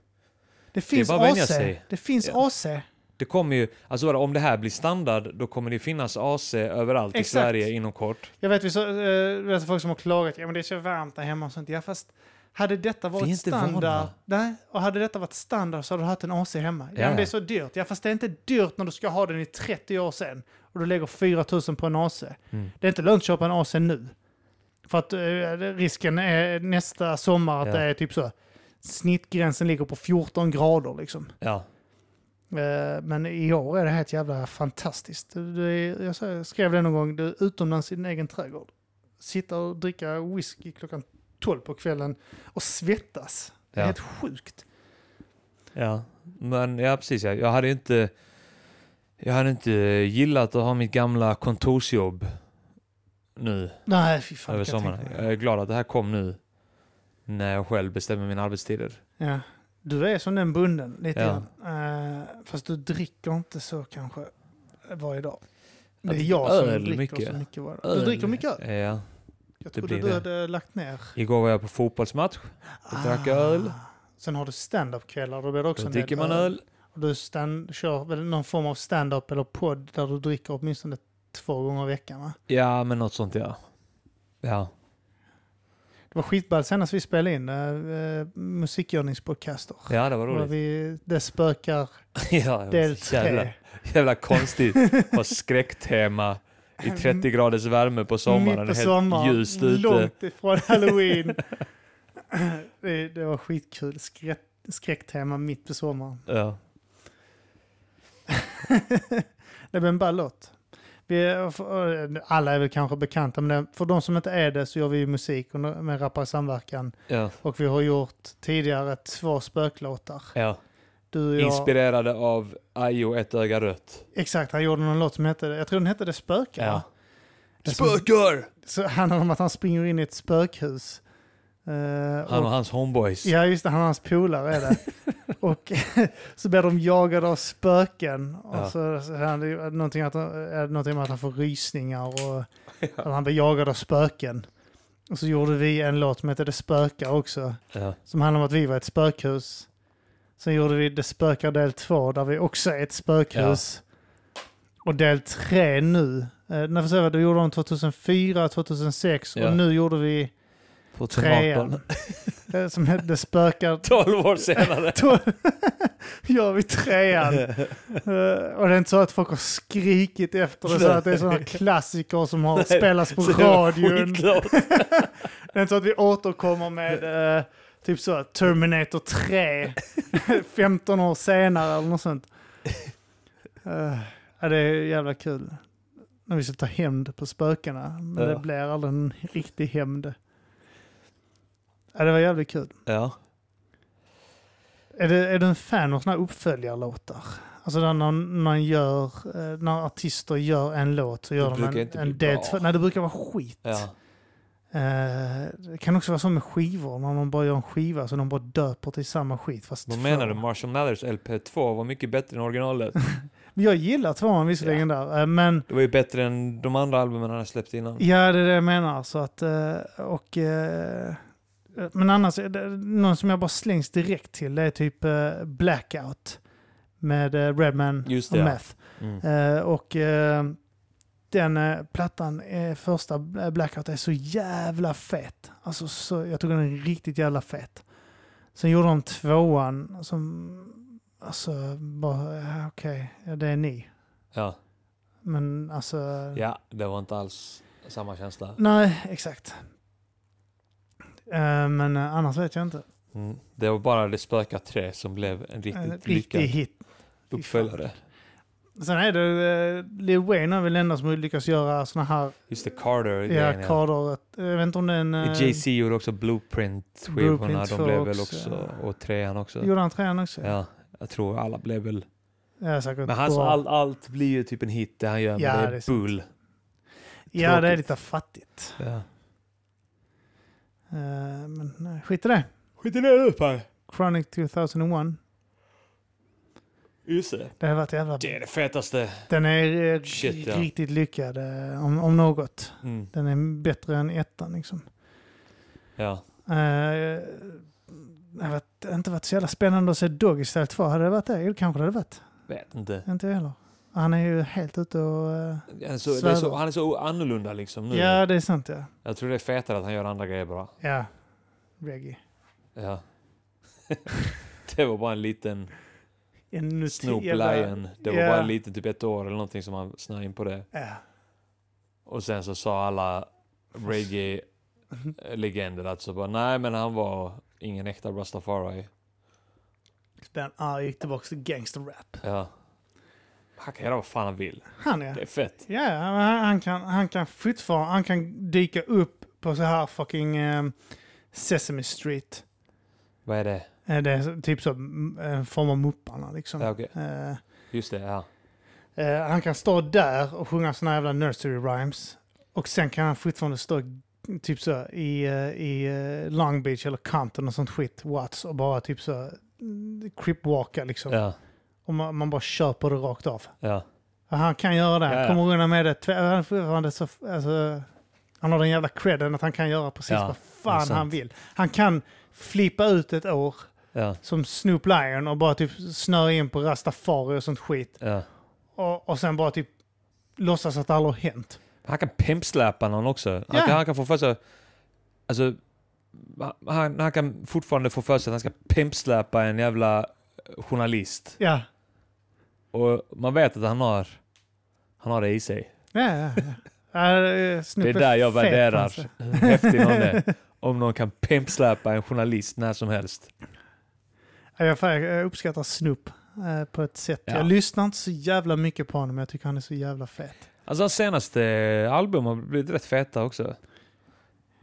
Speaker 2: Det finns
Speaker 1: bara att vänja
Speaker 2: AC.
Speaker 1: sig.
Speaker 2: Det finns
Speaker 1: Ja.
Speaker 2: AC.
Speaker 1: det kommer ju, alltså vadå, om det här blir standard, då kommer det finnas AC överallt
Speaker 2: Exakt.
Speaker 1: i Sverige inom kort.
Speaker 2: Jag vet, vi så, eh, vet folk som har klagat. Ja, men det är så varmt där hemma och sånt. Ja, fast hade detta
Speaker 1: Vi är
Speaker 2: varit
Speaker 1: inte vana.
Speaker 2: standard. Nej, och hade detta varit standard så hade du haft en AC hemma. Ja,
Speaker 1: Ja.
Speaker 2: men det är så dyrt. Ja, fast det är inte dyrt när du ska ha den i 30 år sen och du lägger 4 000 på en AC.
Speaker 1: Mm.
Speaker 2: Det är inte lönt att köpa en AC nu. För att eh, risken är nästa sommar att
Speaker 1: Ja.
Speaker 2: det är typ så. Snittgränsen ligger på 14 grader liksom.
Speaker 1: Ja.
Speaker 2: Eh, Men i år är det helt jävla fantastiskt. Du- du är- Jag sa- jag skrev det någon gång, du är utomlands i din egen trädgård. Sitta och dricka whisky klockan 12 på kvällen och svettas. Det är
Speaker 1: Ja.
Speaker 2: helt sjukt.
Speaker 1: Ja, men ja, precis. Ja. Jag hade inte jag hade inte gillat att ha mitt gamla kontorsjobb nu
Speaker 2: Nej, fy fan.
Speaker 1: över
Speaker 2: kan jag
Speaker 1: sommaren.
Speaker 2: tänka mig.
Speaker 1: Jag är glad att det här kom nu när jag själv bestämmer mina arbetstider.
Speaker 2: Ja. Du är som den bunden lite
Speaker 1: Ja.
Speaker 2: grann. Eh, Fast du dricker inte så kanske varje dag.
Speaker 1: Jag
Speaker 2: Det är
Speaker 1: dricker
Speaker 2: jag som
Speaker 1: öl
Speaker 2: dricker
Speaker 1: mycket.
Speaker 2: så mycket varje dag. Du dricker mycket öl?
Speaker 1: Ja.
Speaker 2: Jag
Speaker 1: det
Speaker 2: trodde
Speaker 1: blir
Speaker 2: du
Speaker 1: det.
Speaker 2: hade lagt ner.
Speaker 1: Igår var jag på fotbollsmatch. Jag drack öl.
Speaker 2: Sen har du stand-up-kvällar, då blir det också
Speaker 1: Då
Speaker 2: en del
Speaker 1: dricker man öl.
Speaker 2: Och du stand, kör väl någon form av stand-up eller podd där du dricker åtminstone två gånger i veckan va?
Speaker 1: Ja, men något sånt ja. Ja,
Speaker 2: Det var skitballt senast vi spelade in äh, musikgörningspodcaster.
Speaker 1: ja det var
Speaker 2: Där
Speaker 1: roligt.
Speaker 2: vi, det spökar
Speaker 1: Ja, det var
Speaker 2: del
Speaker 1: så
Speaker 2: tre.
Speaker 1: jävla, jävla konstigt. På skräcktema i 30 graders värme på sommaren.
Speaker 2: Mitt på
Speaker 1: Helt
Speaker 2: sommaren,
Speaker 1: ljust ute.
Speaker 2: långt ifrån halloween. det, det var skitkul. Skräck, skräcktema mitt på sommaren.
Speaker 1: Ja.
Speaker 2: Det blir en ball låt. Vi är- för- Alla är väl kanske bekanta, men det- för de som inte är det så gör vi ju musik och med Rappar i samverkan.
Speaker 1: Ja.
Speaker 2: Och vi har gjort tidigare två spöklåtar.
Speaker 1: Ja.
Speaker 2: Du och jag.
Speaker 1: Inspirerade av Ayo Ett Öga Rött.
Speaker 2: Exakt, han gjorde någon låt som hette, jag tror den hette Det spökar.
Speaker 1: Ja.
Speaker 2: Det som-
Speaker 1: Spökar!
Speaker 2: Så handlar om att han springer in i ett spökhus. Eh,
Speaker 1: Han
Speaker 2: och,
Speaker 1: och hans homeboys.
Speaker 2: ja, just det, han och hans polare är det. och så blir de jagade av spöken. Och
Speaker 1: Ja.
Speaker 2: så, så är det någonting, att, är det någonting med att han får rysningar och att han blir jagad av spöken. Och så gjorde vi en låt som hette Det spökar också.
Speaker 1: Ja.
Speaker 2: som handlar om att vi var ett spökhus. Sen gjorde vi Det spökar del 2 där vi också är ett spökhus. Och del 3 nu. Eh, när vi säger, då gjorde de 2004, 2006
Speaker 1: Ja.
Speaker 2: och nu gjorde vi
Speaker 1: På
Speaker 2: trean.
Speaker 1: tomaten.
Speaker 2: eh, som hette Det spökar...
Speaker 1: 12 år senare.
Speaker 2: Då gör vi trean. Eh, och det är inte så att folk har skrikit efter det, så att det är sådana klassiker som har spelats på
Speaker 1: Så det var
Speaker 2: radion.
Speaker 1: skitlåt.
Speaker 2: Det är inte så att vi återkommer med eh, typ så Terminator 3 15 år senare eller något sånt. Eh, ja, det är jävla kul. När vi ska ta hämnd på spökena. Men
Speaker 1: Ja.
Speaker 2: det blir aldrig en riktig hämnd. Ja, det var jävligt kul.
Speaker 1: Ja.
Speaker 2: Är du, är du en fan av såna här uppföljarlåtar? Alltså där när, när, man gör, eh, när artister gör en låt så gör de
Speaker 1: brukar
Speaker 2: en,
Speaker 1: inte
Speaker 2: en
Speaker 1: bli
Speaker 2: del
Speaker 1: bra.
Speaker 2: två. Nej, det brukar vara skit.
Speaker 1: Ja.
Speaker 2: Eh, det kan också vara så med skivor, när de bara gör en skiva så de bara döper till samma skit. Fast
Speaker 1: Vad
Speaker 2: två.
Speaker 1: menar du? Marshall Mathers LP2 var mycket bättre än originalet.
Speaker 2: Men jag gillar tvåan visserligen där, eh, men
Speaker 1: Det var ju bättre än de andra albumen han hade släppt innan.
Speaker 2: Ja, det är det jag menar. Så att, eh, och, eh, men annars, är det- någon som jag bara slängs direkt till det är typ eh, Blackout med eh, Redman
Speaker 1: Just
Speaker 2: och
Speaker 1: det, ja.
Speaker 2: Meth.
Speaker 1: Mm.
Speaker 2: Eh, Och eh, den eh, plattan, eh, första eh, Blackout, är så jävla fet. Alltså, så, jag tycker den är riktigt jävla fet. Sen gjorde de tvåan som, alltså, bara, ja, okej, ja, det är ni.
Speaker 1: Ja.
Speaker 2: Men alltså...
Speaker 1: ja, det var inte alls samma känsla.
Speaker 2: Nej, exakt. Eh, men eh, annars vet jag inte.
Speaker 1: Mm. Det var bara Det spökar 3 som blev en
Speaker 2: En
Speaker 1: riktigt
Speaker 2: Eh, riktig
Speaker 1: lyckad
Speaker 2: hit.
Speaker 1: uppföljare.
Speaker 2: Sen är det eh, Lil Wayne är väl den enda som lyckas göra såna här
Speaker 1: Just det, Carter.
Speaker 2: ja,
Speaker 1: grejen, ja.
Speaker 2: karder. Jag vet inte om den... eh,
Speaker 1: JC gjorde också Blueprint-skivorna.
Speaker 2: Blueprint
Speaker 1: De
Speaker 2: två
Speaker 1: blev väl
Speaker 2: också,
Speaker 1: också, och trean också.
Speaker 2: Gjorde han trean också?
Speaker 1: Ja, jag tror alla blev väl...
Speaker 2: Ja, säkert
Speaker 1: Men hans,
Speaker 2: bra.
Speaker 1: all, allt blir ju typ en hit det han gör,
Speaker 2: Ja,
Speaker 1: men
Speaker 2: det
Speaker 1: det
Speaker 2: är
Speaker 1: är
Speaker 2: sant.
Speaker 1: bull.
Speaker 2: ja, det är
Speaker 1: tråkigt.
Speaker 2: lite fattigt.
Speaker 1: Ja.
Speaker 2: Eh, men nej, skit i det.
Speaker 1: Skit i det nu Per!
Speaker 2: Chronic 2001.
Speaker 1: Just det.
Speaker 2: Det har varit jävla...
Speaker 1: Det är det fetaste.
Speaker 2: Den är eh,
Speaker 1: Shit, ja.
Speaker 2: riktigt lyckad, eh, om, om något.
Speaker 1: Mm.
Speaker 2: Den är bättre än ettan liksom.
Speaker 1: Ja.
Speaker 2: Eh, det har varit- inte varit så jävla spännande att se Doggy Style 2. Hade det varit det? Jo, det kanske det hade varit.
Speaker 1: Vet inte.
Speaker 2: Inte jag heller. Han är ju helt ute och... eh,
Speaker 1: Han är så, det är
Speaker 2: Svävar.
Speaker 1: så, han är så annorlunda liksom nu.
Speaker 2: ja, det är sant ja.
Speaker 1: Jag tror det är fetare att han gör andra grejer bra.
Speaker 2: Ja. Reggae.
Speaker 1: Ja. det var bara en liten
Speaker 2: En
Speaker 1: Snoop
Speaker 2: jävla-
Speaker 1: Lion. Det var
Speaker 2: Ja.
Speaker 1: bara en liten, typ ett år eller någonting som han snöade in på det.
Speaker 2: Ja.
Speaker 1: Och sen så sa alla reggae-legender att så eh, alltså bara nej men han var ingen äkta rastafari.
Speaker 2: Den ah, gick tillbaka till gangsterrap.
Speaker 1: Ja. Han kan göra vad fan han vill.
Speaker 2: Han ja.
Speaker 1: Det är fett.
Speaker 2: Ja, ja, men han, han kan, han kan fortfarande... Han kan dyka upp på så här fucking eh, Sesame Street.
Speaker 1: Vad är det?
Speaker 2: Eh, det är så- typ så mm, en form av Mupparna liksom.
Speaker 1: Ja, okej.
Speaker 2: Eh,
Speaker 1: Just det, ja.
Speaker 2: Eh, han kan stå där och sjunga såna jävla nursery rhymes. Och sen kan han fortfarande stå typ så i, eh, i eh, Long Beach eller Compton och sånt skit, Watts, och bara typ så mm, cripwalka liksom.
Speaker 1: Ja,
Speaker 2: Och man, man bara köper det rakt av.
Speaker 1: ja.
Speaker 2: Och han kan göra det,
Speaker 1: Ja,
Speaker 2: han
Speaker 1: ja.
Speaker 2: kommer undan med det. Tve- Han, är fortfarande så, alltså, han har den jävla credden att han kan göra precis
Speaker 1: Ja, det
Speaker 2: vad
Speaker 1: är
Speaker 2: fan
Speaker 1: sant.
Speaker 2: han vill. Han kan flippa ut ett år
Speaker 1: ja,
Speaker 2: som Snoop Lion och bara typ snöa in på rastafari och sånt skit
Speaker 1: ja.
Speaker 2: och, och sen bara typ låtsas att det aldrig har hänt.
Speaker 1: Han kan pimpsläpa någon också. Han,
Speaker 2: Ja.
Speaker 1: kan, han kan få för sig... Alltså, han, han kan fortfarande få för sig att han ska pimpsläpa en jävla eh, journalist.
Speaker 2: Ja,
Speaker 1: Och man vet att han har, han har det i sig.
Speaker 2: ja, ja. ja. Äh,
Speaker 1: Det är där jag värderar
Speaker 2: alltså.
Speaker 1: hur häftig någon är. Om någon kan pimpsläpa en journalist när som helst.
Speaker 2: Jag, fan, jag uppskattar Snoop eh, på ett sätt.
Speaker 1: Ja.
Speaker 2: Jag lyssnar inte så jävla mycket på honom, men jag tycker han är så jävla fet.
Speaker 1: Alltså hans senaste album har blivit rätt feta också.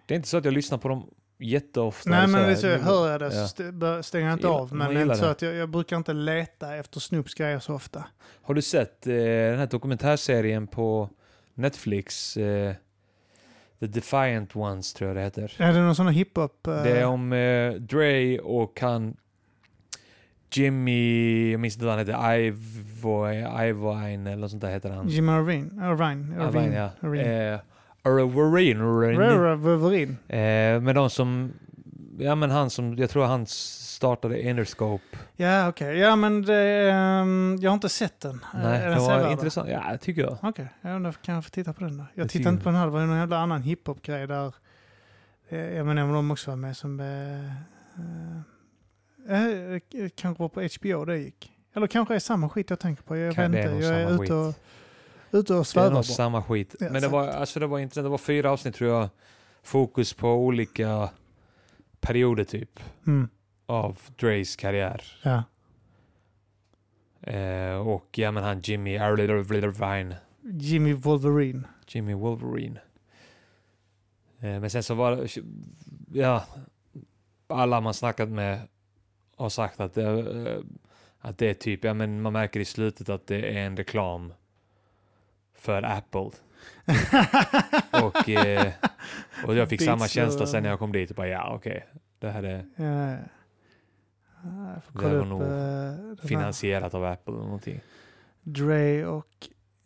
Speaker 1: Det är inte så att jag lyssnar på dem jätteofta.
Speaker 2: Nej,
Speaker 1: så
Speaker 2: men
Speaker 1: här.
Speaker 2: det är så, hör jag det så
Speaker 1: Ja.
Speaker 2: st- bör- stänger jag inte
Speaker 1: Gillar-
Speaker 2: av.
Speaker 1: man
Speaker 2: Men det är
Speaker 1: gillar
Speaker 2: inte så
Speaker 1: det.
Speaker 2: att jag, jag brukar inte leta efter Snoops grejer så ofta.
Speaker 1: Har du sett eh, den här dokumentärserien på Netflix? Eh, The Defiant Ones tror jag det heter.
Speaker 2: Är det någon sån här hiphop? eh,
Speaker 1: Det är om eh, Dre och han Jimmy, jag minns inte vad han heter, Ivo, Ivine eller något sånt där heter han.
Speaker 2: Jim Irvine? Irvine?
Speaker 1: Irvine,
Speaker 2: Irvine?
Speaker 1: ja.
Speaker 2: Irvine.
Speaker 1: Eh, Irvine, Irvine.
Speaker 2: Rara Wolverine?
Speaker 1: Eh, men de som, ja men han som, jag tror han startade Interscope.
Speaker 2: Ja, okej. Ja, men det, ehm, jag har inte sett den. Eh,
Speaker 1: Nej,
Speaker 2: är
Speaker 1: det
Speaker 2: den sevärd,
Speaker 1: var
Speaker 2: va?
Speaker 1: intressant. Ja, tycker jag.
Speaker 2: Okej, okay. jag kan jag få titta på den då? Jag
Speaker 1: Jag
Speaker 2: tittade
Speaker 1: tycker-
Speaker 2: inte på den här, det var ju någon jävla annan hiphop-grej där eh, jag menar om de också var med som... Eh, eh, eh, kanske var på HBO det gick. Eller kanske är samma skit jag tänker på, jag
Speaker 1: Kan- det
Speaker 2: vet
Speaker 1: är nog
Speaker 2: inte. Jag är
Speaker 1: samma
Speaker 2: ute och,
Speaker 1: skit.
Speaker 2: ute och
Speaker 1: Det är
Speaker 2: svävar
Speaker 1: nog
Speaker 2: bara.
Speaker 1: samma skit.
Speaker 2: Ja,
Speaker 1: men det var,
Speaker 2: säkert.
Speaker 1: alltså, det var intressant. Det var fyra avsnitt tror jag. Fokus på olika perioder typ
Speaker 2: Mm,
Speaker 1: av Dres karriär.
Speaker 2: ja.
Speaker 1: Eh, och ja men han Jimmy Irvine.
Speaker 2: Jimmy Wolverine.
Speaker 1: Jimmy Wolverine. Eh, men sen så var det, ja, alla man snackat med har sagt att det, eh, Att det är typ, ja men man märker i slutet att det är en reklam för Apple. Och, eh, och jag fick samma
Speaker 2: Beats,
Speaker 1: känsla sen när
Speaker 2: eh,
Speaker 1: jag kom dit och bara ja okej, det här är
Speaker 2: Ja, ja. Ja, Jag får
Speaker 1: Det
Speaker 2: kolla
Speaker 1: var
Speaker 2: upp
Speaker 1: nog
Speaker 2: eh, den här
Speaker 1: finansierat av Apple eller någonting.
Speaker 2: Dre och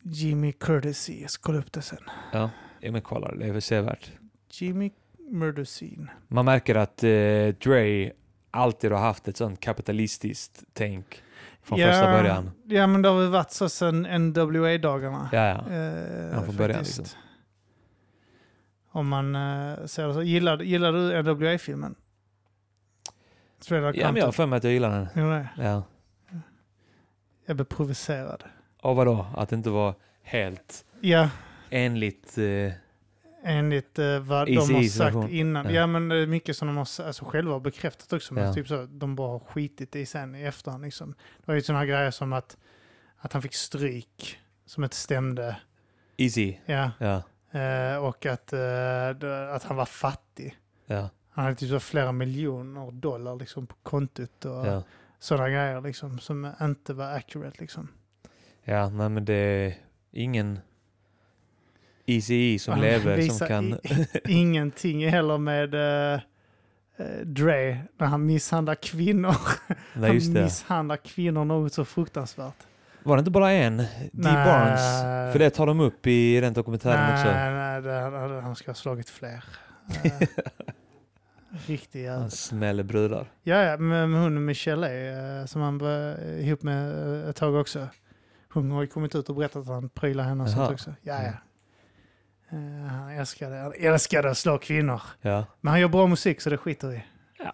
Speaker 2: Jimmy Courtesy. Jag ska kolla upp det sen.
Speaker 1: Ja men kolla, det är väl sevärt.
Speaker 2: Jimmy Murderscene.
Speaker 1: Man märker att eh, Dre alltid har haft ett sånt kapitalistiskt tänk från första början.
Speaker 2: Ja, men det har väl varit så sedan NWA-dagarna.
Speaker 1: Ja, ja.
Speaker 2: Eh,
Speaker 1: Ja, från början,
Speaker 2: faktiskt.
Speaker 1: liksom.
Speaker 2: Om man eh, säger så. Gillar, gillar du NWA-filmen? Shredder
Speaker 1: ja men jag har för mig att jag gillar den.
Speaker 2: jag...
Speaker 1: Ja.
Speaker 2: jag blev provocerad.
Speaker 1: Och vadå? Att det inte var helt
Speaker 2: Ja,
Speaker 1: enligt... Eh,
Speaker 2: enligt eh, vad
Speaker 1: Easy
Speaker 2: de har
Speaker 1: Easy version.
Speaker 2: sagt innan.
Speaker 1: Ja.
Speaker 2: Ja. men det är mycket som de har s- alltså, själva har bekräftat också. Men
Speaker 1: Ja.
Speaker 2: typ så, de bara har skitit i sen i efterhand. Liksom. Det var ju sådana grejer som att, att han fick stryk som inte stämde.
Speaker 1: easy.
Speaker 2: Ja,
Speaker 1: Ja,
Speaker 2: eh, och att, eh, det- att han var fattig.
Speaker 1: ja,
Speaker 2: Han hade typ så flera miljoner dollar liksom, på kontot och
Speaker 1: ja.
Speaker 2: sådana grejer liksom, som inte var accurate. Liksom.
Speaker 1: Ja, nej men det är ingen ECE som
Speaker 2: Han
Speaker 1: lever som
Speaker 2: visar
Speaker 1: kan...
Speaker 2: i- Ingenting heller med eh, eh, Dre när han misshandlar kvinnor.
Speaker 1: Nej, just
Speaker 2: han
Speaker 1: det.
Speaker 2: misshandlar kvinnor något så fruktansvärt.
Speaker 1: Var det inte bara en? Dee
Speaker 2: Nej.
Speaker 1: Barnes? För det tar de upp i den dokumentären också.
Speaker 2: nej, nej det, han, han ska ha slagit fler. Eh, Riktig jävel.
Speaker 1: Han smäller brudar.
Speaker 2: Ja, ja, men men hon Michelle är, eh, som han var eh, ihop med eh, ett tag också. Hon har ju kommit ut och berättat att han prylar henne och sånt
Speaker 1: Jaha. Mm.
Speaker 2: också. Ja, ja. Eh, han, älskade, han älskade att slå kvinnor.
Speaker 1: Ja.
Speaker 2: Men han gör bra musik så det skiter vi i.
Speaker 3: Ja.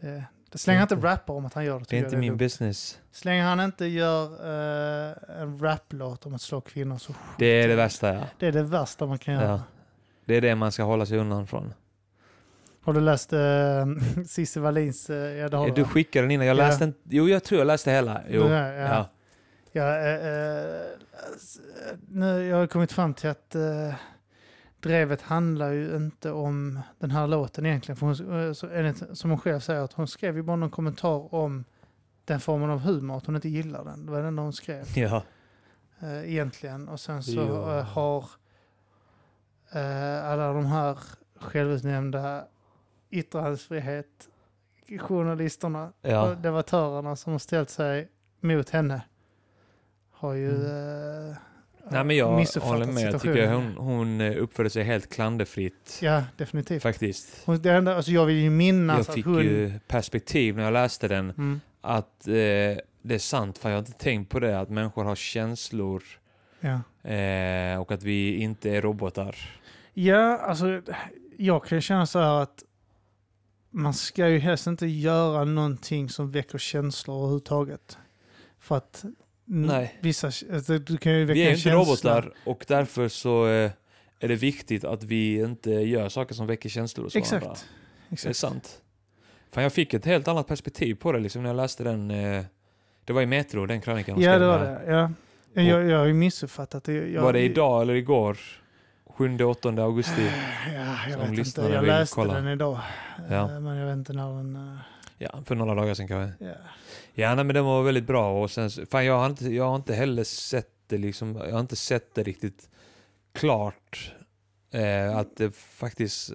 Speaker 2: Det, det slänger inte
Speaker 1: Inte-
Speaker 2: rappar om att han gör det.
Speaker 1: Det är
Speaker 2: tycker
Speaker 1: inte
Speaker 2: jag
Speaker 1: min
Speaker 2: dumt.
Speaker 1: business.
Speaker 2: Slänger han inte gör eh, en raplåt om att slå kvinnor så
Speaker 1: Det är det värsta ja.
Speaker 2: det är det värsta man kan göra.
Speaker 1: Ja. Det är det man ska hålla sig undan från.
Speaker 2: Har du läst eh, Cissi Wallins? eh, ja, det har
Speaker 1: Du
Speaker 2: va?
Speaker 1: skickade den innan. Jag
Speaker 2: Ja.
Speaker 1: läste inte... Jo, jag tror jag läste hela. Jo.
Speaker 2: Det där, ja.
Speaker 1: Ja.
Speaker 2: Ja, eh, eh, s- eh, nu, jag har kommit fram till att eh, drevet handlar ju inte om den här låten egentligen. För hon, eh, så, enligt, som hon själv säger, att hon skrev ju bara någon kommentar om den formen av humor, att hon inte gillar den. Det var den hon skrev.
Speaker 1: Ja.
Speaker 2: eh, egentligen. Och sen så
Speaker 1: Ja.
Speaker 2: eh, har eh, alla de här självutnämnda yttrandefrihet journalisterna,
Speaker 1: Ja.
Speaker 2: och debattörerna som har ställt sig mot henne har ju eh,
Speaker 1: Nej, men jag
Speaker 2: missuppfattat
Speaker 1: håller med. Jag tycker
Speaker 2: situationen.
Speaker 1: hon, hon eh, uppförde sig helt klanderfritt.
Speaker 2: Ja, definitivt.
Speaker 1: Faktiskt.
Speaker 2: Hon, det enda, alltså jag vill ju minnas
Speaker 1: Jag fick
Speaker 2: att hon...
Speaker 1: ju perspektiv när jag läste den.
Speaker 2: Mm,
Speaker 1: att eh, det är sant, för jag har inte tänkt på det, att människor har känslor
Speaker 2: ja.
Speaker 1: eh, och att vi inte är robotar.
Speaker 2: Ja, alltså jag kan känna så här att man ska ju helst inte göra någonting som väcker känslor överhuvudtaget. För att n-
Speaker 1: Nej.
Speaker 2: vissa, alltså, du kan ju väcka
Speaker 1: Vi är
Speaker 2: en
Speaker 1: inte
Speaker 2: känsla.
Speaker 1: robotar och därför så eh, är det viktigt att vi inte gör saker som väcker känslor hos varandra.
Speaker 2: Exakt.
Speaker 1: Det är
Speaker 2: Exakt.
Speaker 1: sant. Fan, jag fick ett helt annat perspektiv på det liksom, när jag läste den. Eh, det var i Metro, den krönikan hon
Speaker 2: Ja,
Speaker 1: skrev
Speaker 2: det var
Speaker 1: där.
Speaker 2: det. Ja. Jag, jag har ju missuppfattat det. Jag,
Speaker 1: Var det idag eller igår? 7-8 augusti.
Speaker 2: Ja, jag
Speaker 1: Som
Speaker 2: vet inte.
Speaker 1: lyssnarna
Speaker 2: Jag
Speaker 1: vill
Speaker 2: läste
Speaker 1: kolla.
Speaker 2: den idag.
Speaker 1: Ja.
Speaker 2: Eh, Men jag vet inte när den... eh,
Speaker 1: Ja, för några dagar sedan kanske.
Speaker 2: Ja.
Speaker 1: Ja, nej, men den var väldigt bra. Och sen, så- fan, jag, har inte, jag har inte heller sett det, liksom, jag har inte sett det riktigt klart. Eh, att det faktiskt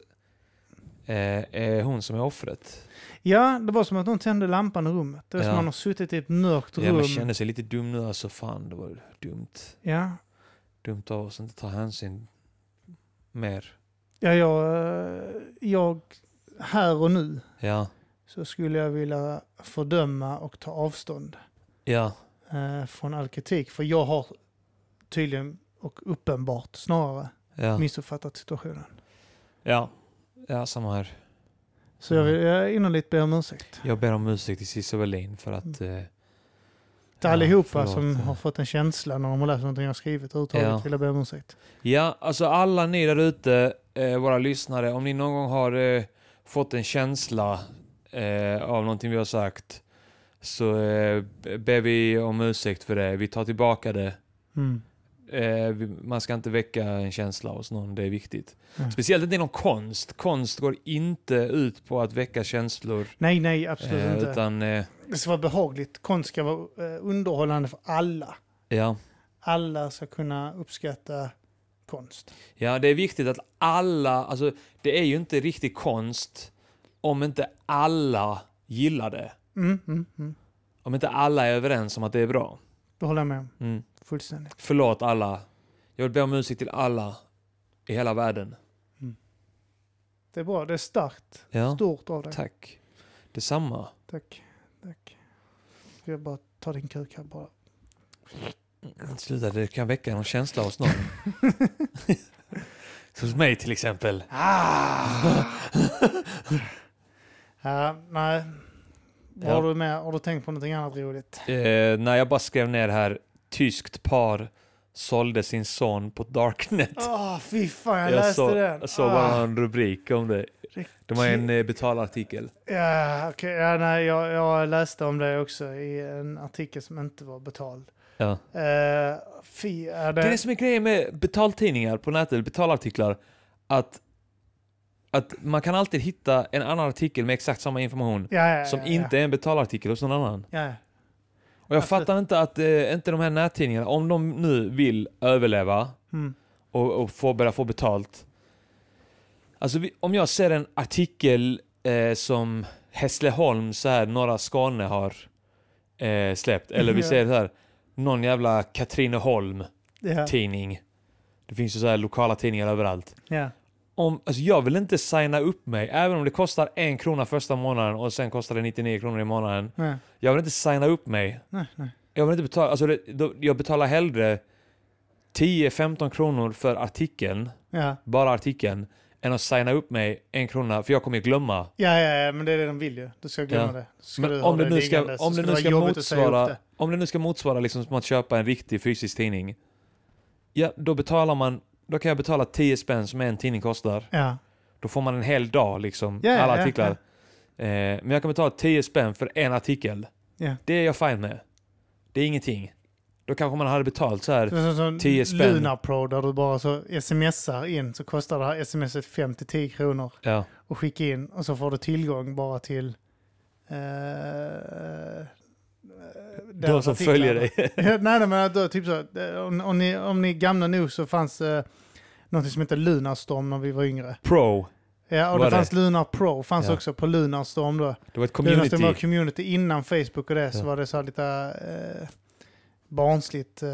Speaker 1: eh, är hon som är offret.
Speaker 2: ja, det var som att någon tände lampan i rummet. Det var
Speaker 1: Ja.
Speaker 2: som att man har suttit i ett mörkt
Speaker 1: Ja,
Speaker 2: rum.
Speaker 1: man känner sig lite dum nu. Alltså fan, det var dumt.
Speaker 2: ja.
Speaker 1: Dumt av oss att inte ta hänsyn mer.
Speaker 2: Ja, jag, eh, jag här och nu
Speaker 1: Ja,
Speaker 2: så skulle jag vilja fördöma och ta avstånd
Speaker 1: ja,
Speaker 2: eh, från all kritik. För jag har tydligen och uppenbart snarare
Speaker 1: ja.
Speaker 2: missuppfattat situationen.
Speaker 1: Ja, ja samma här.
Speaker 2: Så
Speaker 1: Mm.
Speaker 2: jag vill jag innerligt be om ursäkt.
Speaker 1: Jag ber om ursäkt till Cissi Wallin för att... Eh, ja,
Speaker 2: Till allihopa
Speaker 1: förlåt.
Speaker 2: som har fått en känsla när de har läst någonting jag skrivit överhuvudtaget
Speaker 1: Ja.
Speaker 2: vill jag be om ursäkt.
Speaker 1: Ja, alltså alla ni där ute, eh, våra lyssnare, om ni någon gång har eh, fått en känsla eh, av någonting vi har sagt så eh, ber vi om ursäkt för det. Vi tar tillbaka det.
Speaker 2: Mm.
Speaker 1: Eh, vi, man ska inte väcka en känsla hos någon, det är viktigt.
Speaker 2: Mm.
Speaker 1: Speciellt inte inom konst. Konst går inte ut på att väcka känslor.
Speaker 2: Nej, nej, absolut
Speaker 1: eh,
Speaker 2: inte.
Speaker 1: utan eh,
Speaker 2: Det ska vara behagligt. Konst ska vara eh, underhållande för alla.
Speaker 1: Ja.
Speaker 2: Alla ska kunna uppskatta konst.
Speaker 1: ja, det är viktigt att alla, alltså det är ju inte riktig konst om inte alla gillar det.
Speaker 2: Mm, mm, mm.
Speaker 1: Om inte alla är överens om att det är bra.
Speaker 2: Det håller jag med om.
Speaker 1: Mm.
Speaker 2: Fullständigt.
Speaker 1: Förlåt alla. Jag vill be om ursäkt till alla i hela världen.
Speaker 2: Det är bra. Det är starkt.
Speaker 1: Ja,
Speaker 2: Stort av dig.
Speaker 1: tack. Detsamma.
Speaker 2: Tack. Tack. Ska Jag bara ta din kuk här bara.
Speaker 1: Sluta, det kan väcka någon känsla hos någon. Hos mig till exempel.
Speaker 2: Ja, nej. Vad
Speaker 1: Ja.
Speaker 2: Har, du med, har du tänkt på någonting annat roligt?
Speaker 1: Eh, när jag bara skrev ner här, tyskt par sålde sin son på Darknet.
Speaker 2: Åh, fy fan, jag,
Speaker 1: jag
Speaker 2: läste
Speaker 1: såg
Speaker 2: den. Ah.
Speaker 1: jag såg bara en rubrik om det.
Speaker 2: Det-
Speaker 1: De har en eh, betalartikel.
Speaker 2: Ja, okej. ja, nej, jag, jag läste om det också i en artikel som inte var betald.
Speaker 1: Ja.
Speaker 2: Eh, fy, är det...
Speaker 1: Det är det som är grejen med betaltidningar på nätet, eller betalartiklar, att, att man kan alltid hitta en annan artikel med exakt samma information
Speaker 2: ja, ja, ja,
Speaker 1: som
Speaker 2: ja,
Speaker 1: inte är en betalartikel hos någon annan.
Speaker 2: Ja, ja.
Speaker 1: Och jag
Speaker 2: Absolut.
Speaker 1: fattar inte att eh, inte de här nättidningarna, om de nu vill överleva
Speaker 2: Mm.
Speaker 1: och, och få, börja få betalt. Alltså vi, om jag ser en artikel eh, som Hässleholm, så här, norra Skåne har eh, släppt, eller vi
Speaker 2: Ja.
Speaker 1: ser så här, någon jävla Katrineholm
Speaker 2: Ja,
Speaker 1: tidning. Det finns ju så här lokala tidningar överallt.
Speaker 2: ja.
Speaker 1: Om, alltså jag vill inte signa upp mig, även om det kostar en krona första månaden och sen kostar det 99 kronor i månaden.
Speaker 2: Nej,
Speaker 1: Jag vill inte signa upp mig.
Speaker 2: nej, nej.
Speaker 1: Jag vill inte betala, alltså det, då, jag betalar hellre 10-15 kronor för artikeln,
Speaker 2: Ja.
Speaker 1: bara artikeln, än att signa upp mig en krona, för jag kommer ju glömma.
Speaker 2: Ja, ja, ja, men det är det de vill ju. Du ska glömma
Speaker 1: Ja.
Speaker 2: det. Ska du
Speaker 1: Men
Speaker 2: ha
Speaker 1: om det, nu ska,
Speaker 2: liggande så
Speaker 1: om det nu
Speaker 2: vara
Speaker 1: ska
Speaker 2: jobbigt att säga upp
Speaker 1: motsvara,
Speaker 2: det.
Speaker 1: om det nu ska motsvara liksom som att köpa en riktig fysisk tidning, ja då betalar man, då kan jag betala 10 spänn som en tidning kostar.
Speaker 2: Ja,
Speaker 1: Då får man en hel dag, liksom,
Speaker 2: Ja, ja,
Speaker 1: alla
Speaker 2: ja,
Speaker 1: artiklar. Eh, men jag kan betala 10 spänn för en artikel.
Speaker 2: Ja.
Speaker 1: Det är jag fine med. Det är ingenting. Då kanske man hade betalt så här.
Speaker 2: Det är som
Speaker 1: 10
Speaker 2: som
Speaker 1: spänn.
Speaker 2: Lunar Pro där du bara så smsar in så kostar det här smset 5-10 kronor
Speaker 1: Ja,
Speaker 2: och skicka in och så får du tillgång bara till eh, eh,
Speaker 1: de
Speaker 2: deras
Speaker 1: som
Speaker 2: artiklar.
Speaker 1: följer dig.
Speaker 2: nej, nej, men då, typ så, eh, om, om, ni, om ni är gamla nog så fanns eh, något som hette Lunarstorm när vi var yngre.
Speaker 1: Pro.
Speaker 2: Ja, och
Speaker 1: Var
Speaker 2: det,
Speaker 1: det?
Speaker 2: fanns Lunar Pro, fanns
Speaker 1: Ja.
Speaker 2: också på Lunarstorm då.
Speaker 1: Det var ett
Speaker 2: Lunarstorm var
Speaker 1: community.
Speaker 2: community innan Facebook och det, så
Speaker 1: Ja.
Speaker 2: var det så här lite eh, barnsligt eh,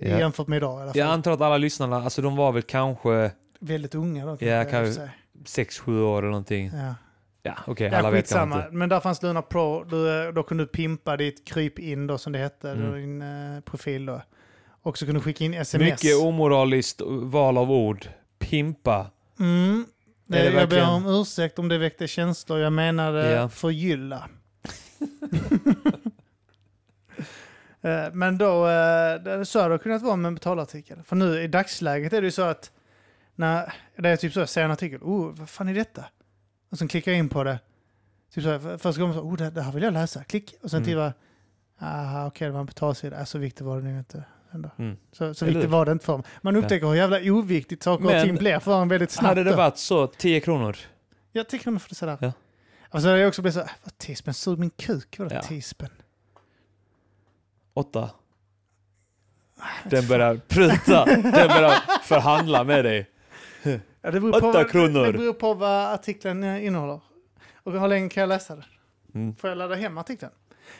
Speaker 1: Ja.
Speaker 2: jämfört med idag i alla fall.
Speaker 1: Jag antar att alla lyssnarna, alltså de var väl kanske
Speaker 2: Väldigt unga då.
Speaker 1: Ja,
Speaker 2: jag i och
Speaker 1: kan-
Speaker 2: för sig.
Speaker 1: 6-7 år eller någonting.
Speaker 2: Ja.
Speaker 1: Ja, okej,
Speaker 2: Ja,
Speaker 1: alla vet kanske
Speaker 2: skitsamma.
Speaker 1: inte.
Speaker 2: Men där fanns Luna Pro. Du, eh, då kunde du pimpa ditt kryp-in då som det hette,
Speaker 1: Mm.
Speaker 2: då, din eh, profil då. Och så kunde du skicka in sms.
Speaker 1: Mycket omoraliskt val av ord. Pimpa.
Speaker 2: mm.
Speaker 1: Är det
Speaker 2: jag
Speaker 1: verkligen-
Speaker 2: ber om ursäkt om det väckte känslor. Jag menade
Speaker 1: Ja.
Speaker 2: förgylla. Eh, Men då, eh, det- så hade det kunnat vara med en betalartikel. För nu i dagsläget är det ju så att när det är typ så, jag ser en artikel, oh, vad fan är detta? Och sen klickar jag in på det. Typ så här, för- första gången så, oh, det, det här vill jag läsa, klick. Och sen
Speaker 1: Mm.
Speaker 2: typ bara, aha, okej, det var en betalsida. Äh, så viktigt var det nu inte. Ändå.
Speaker 1: Mm.
Speaker 2: Så, så
Speaker 1: Eller
Speaker 2: viktigt
Speaker 1: hur?
Speaker 2: var det inte för mig. Man upptäcker hur jävla oviktigt saker och
Speaker 1: Men-
Speaker 2: ting blir för en väldigt snabbt.
Speaker 1: Hade det
Speaker 2: då.
Speaker 1: varit så, 10 kronor.
Speaker 2: Jag tycker nog för det sådär.
Speaker 1: Ja.
Speaker 2: Och så har jag också blivit så här, "Äh, vad tispen, sug min kuk, vadå
Speaker 1: Ja.
Speaker 2: tispen?
Speaker 1: 8.
Speaker 2: Ah,
Speaker 1: Den börjar pruta. Den börjar förhandla med dig.
Speaker 2: Ja, det beror
Speaker 1: Åtta
Speaker 2: på, vad-
Speaker 1: kronor.
Speaker 2: Det beror på vad artikeln eh, innehåller. Och hur länge kan jag läsa den?
Speaker 1: Mm.
Speaker 2: Får jag ladda hem artikeln?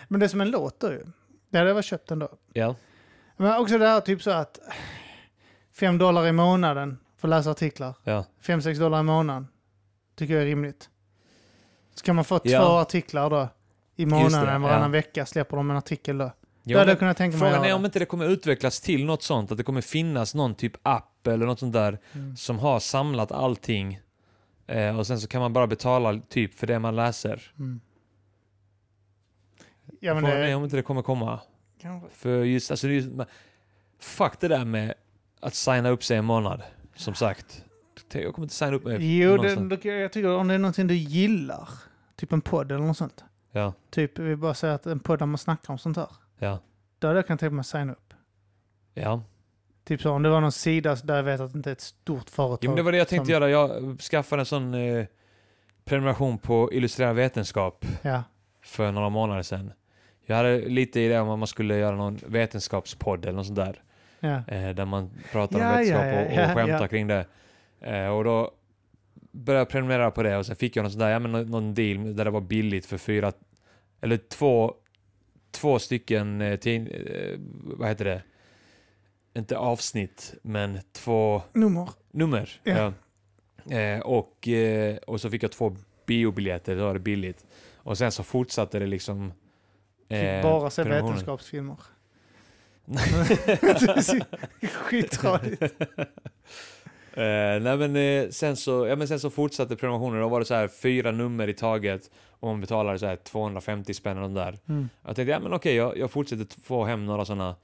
Speaker 2: Men det är som en låt då ju. Det hade jag väl köpt ändå.
Speaker 1: Ja.
Speaker 2: Men också det här typ så att fem dollar i månaden för att läsa artiklar.
Speaker 1: Ja.
Speaker 2: fem sex dollar i månaden tycker jag är rimligt. Ska man få två
Speaker 1: Ja.
Speaker 2: artiklar då i
Speaker 1: det,
Speaker 2: månaden varannan
Speaker 1: ja.
Speaker 2: vecka släpper de en artikel då. Då
Speaker 1: Ja,
Speaker 2: hade jag
Speaker 1: men,
Speaker 2: kunnat tänka mig
Speaker 1: frågan
Speaker 2: att
Speaker 1: är
Speaker 2: göra
Speaker 1: om
Speaker 2: det.
Speaker 1: inte det kommer utvecklas till något sånt. Att det kommer finnas någon typ app eller något sånt där
Speaker 2: Mm.
Speaker 1: som har samlat allting. Eh, och sen så kan man bara betala typ för det man läser.
Speaker 2: Mm. Ja, men
Speaker 1: Frågan är
Speaker 2: det,
Speaker 1: om inte det kommer komma.
Speaker 2: kanske.
Speaker 1: För just, alltså just, men- fuck det där med att signa upp sig en månad. Som sagt. Jag kommer inte signa upp mig
Speaker 2: Jo, det,
Speaker 1: någonstans.
Speaker 2: då kan jag jag tycker om det är någonting du gillar, typ en podd eller något sånt.
Speaker 1: Ja,
Speaker 2: Typ, vi bara säger att en podd där man snackar om sånt här.
Speaker 1: ja,
Speaker 2: Då hade jag kunnat tänka mig att signa upp.
Speaker 1: ja.
Speaker 2: Typ så, om det var någon sida där jag vet att det inte är ett stort företag.
Speaker 1: Jo, men det var det jag tänkte
Speaker 2: som-
Speaker 1: göra. Jag skaffade en sån eh, prenumeration på Illustrerad Vetenskap.
Speaker 2: Ja,
Speaker 1: för några månader sedan. Jag hade lite idé om att man skulle göra någon vetenskapspodd eller något sånt där.
Speaker 2: Ja.
Speaker 1: Eh, där man pratar om
Speaker 2: Ja,
Speaker 1: vetenskap
Speaker 2: ja, ja,
Speaker 1: och, och
Speaker 2: ja,
Speaker 1: skämtar
Speaker 2: ja.
Speaker 1: kring det. Eh, och då började jag prenumerera på det och sen fick jag någon, sån där, ja, men nå- någon deal där det var billigt för fyra, eller två, två stycken, eh, tid, eh, vad heter det? Inte avsnitt, men två
Speaker 2: Nummer.
Speaker 1: nummer.
Speaker 2: Ja.
Speaker 1: Ja. Eh, och, eh, och så fick jag två biobiljetter, då var det billigt. Och sen så fortsatte det liksom.
Speaker 2: Fick
Speaker 1: eh,
Speaker 2: Typ bara se
Speaker 1: prenumerationen.
Speaker 2: vetenskapsfilmer. Skittradigt.
Speaker 1: Eh, nej men, eh, sen så, ja, men sen så fortsatte prenumerationen. Då var det så här fyra nummer i taget och man betalade så här 250 spänn eller nåt där.
Speaker 2: Mm.
Speaker 1: Jag tänkte, ja men okej, jag, jag fortsätter t- få hem några sådana.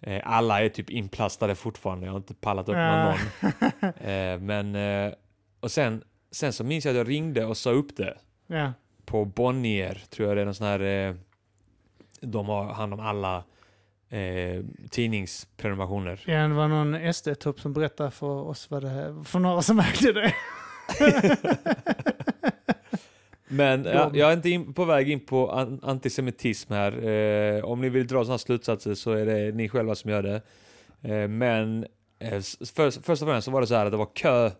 Speaker 1: Eh, alla är typ inplastade fortfarande. Jag har inte pallat upp med
Speaker 2: Ah.
Speaker 1: någon. Eh, men, eh, och sen, sen så minns jag att jag ringde och sa upp det.
Speaker 2: Ja.
Speaker 1: på Bonnier, tror jag det är någon sån här... Eh, de har hand om alla eh, tidningsprenumerationer.
Speaker 2: Ja, det var någon SD-tupp som berättade för oss vad det här, för några som ägde det.
Speaker 1: Men ja,
Speaker 2: De-
Speaker 1: jag är inte in, på väg in på an, antisemitism här. Eh, om ni vill dra sådana slutsatser så är det ni själva som gör det. Eh, men eh, s- först, först och främst så var det så här att det var kö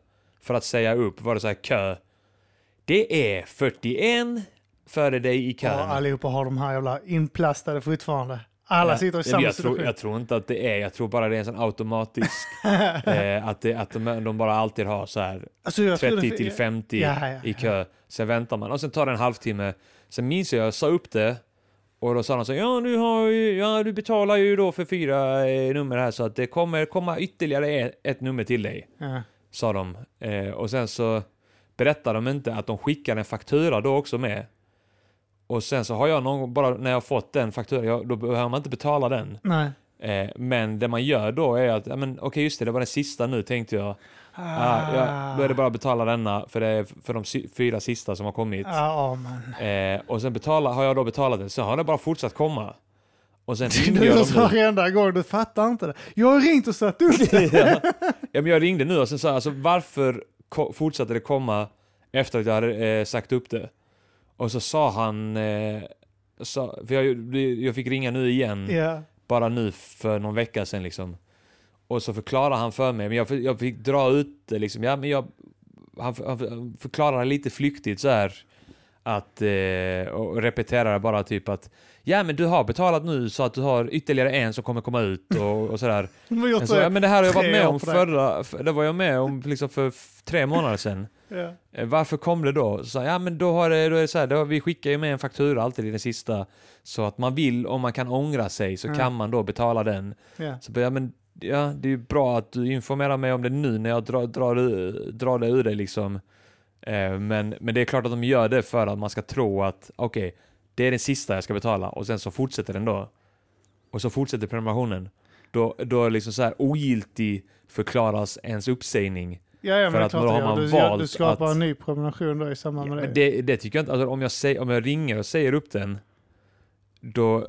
Speaker 1: för att säga upp. Var det så här kö. Det är 41 före dig i
Speaker 2: Ja,
Speaker 1: kön.
Speaker 2: allihopa har de här jävla inplastade fortfarande. Alla
Speaker 1: Ja,
Speaker 2: sitter i
Speaker 1: men
Speaker 2: samma
Speaker 1: jag tror,
Speaker 2: situation.
Speaker 1: jag tror inte att det är, jag tror bara det är en sån automatisk, eh, att, det, att de, de bara alltid har så här
Speaker 2: Alltså, jag tror
Speaker 1: 30
Speaker 2: det-
Speaker 1: till 50
Speaker 2: Ja, ja,
Speaker 1: i kö. Sen väntar man och sen tar det en halvtimme. Sen minns jag, jag sa upp det och då sa de så här, ja du, har ju, ja, du betalar ju då för fyra eh, nummer här så att det kommer komma ytterligare ett, ett nummer till dig,
Speaker 2: Ja.
Speaker 1: sa de. Eh, och sen så berättar de inte att de skickar en faktura då också med. Och sen så har jag någon gång, bara när jag fått den fakturan, jag, då behöver man inte betala den.
Speaker 2: Nej.
Speaker 1: Eh, men det man gör då är att, ja, men, okej just det, det var den sista nu tänkte jag. Ah, ja, då är det bara att betala denna för, det är f- för de sy- fyra sista som har kommit.
Speaker 2: Ja, Ah, ja, man.
Speaker 1: Eh, och sen betala, har jag då betalat det, så har det bara fortsatt komma. Och sen ringde
Speaker 2: Det
Speaker 1: jag
Speaker 2: är så
Speaker 1: dem nu.
Speaker 2: varenda gång, du fattar inte det. Jag har ringt och satt upp det.
Speaker 1: ja. ja, men jag ringde nu och sen sa jag, alltså, varför ko- fortsatte det komma efter att jag hade eh, sagt upp det? Och så sa han, eh, sa, för jag, jag fick ringa nu igen.
Speaker 2: Ja.
Speaker 1: bara nu för någon vecka sedan liksom. Och så förklarar han för mig, men jag, jag fick dra ut det liksom. Ja, men jag, han, för- han för- förklarar lite flyktigt så här att, eh, och repeterar bara typ att ja men du har betalat nu så att du har ytterligare en som kommer komma ut och, och sådär.
Speaker 2: Men jag
Speaker 1: Så, Alltså, ja, men det här har jag varit
Speaker 2: Tre
Speaker 1: med
Speaker 2: år
Speaker 1: om
Speaker 2: på det.
Speaker 1: förra, f- det var jag med om liksom för f- tre månader sedan.
Speaker 2: ja.
Speaker 1: Eh, Varför kom det då? Så, ja, men då, har det, då är det så här, då, vi skickar ju med en faktura alltid i den sista. Så att man vill, om man kan ångra sig, så
Speaker 2: Mm.
Speaker 1: kan man då betala den.
Speaker 2: Ja.
Speaker 1: Så, bara, ja, men, ja, det är ju bra att du informerar mig om det nu när jag drar, drar, ur- drar det ur dig. Liksom. Eh, men, men det är klart att de gör det för att man ska tro att okej, det är den sista jag ska betala och sen så fortsätter den då. Och så fortsätter prenumerationen. Då, då är liksom så här ogiltig förklaras ens uppsägning.
Speaker 2: Ja, ja, men
Speaker 1: För
Speaker 2: det är
Speaker 1: att
Speaker 2: klart
Speaker 1: då har
Speaker 2: det gör.
Speaker 1: man
Speaker 2: du, ja, du
Speaker 1: valt
Speaker 2: skapar
Speaker 1: att-
Speaker 2: en ny prenumeration då i samband
Speaker 1: Ja,
Speaker 2: med
Speaker 1: men
Speaker 2: det.
Speaker 1: det, det tycker jag inte. Alltså, om, jag säger, om jag ringer och säger upp den, då...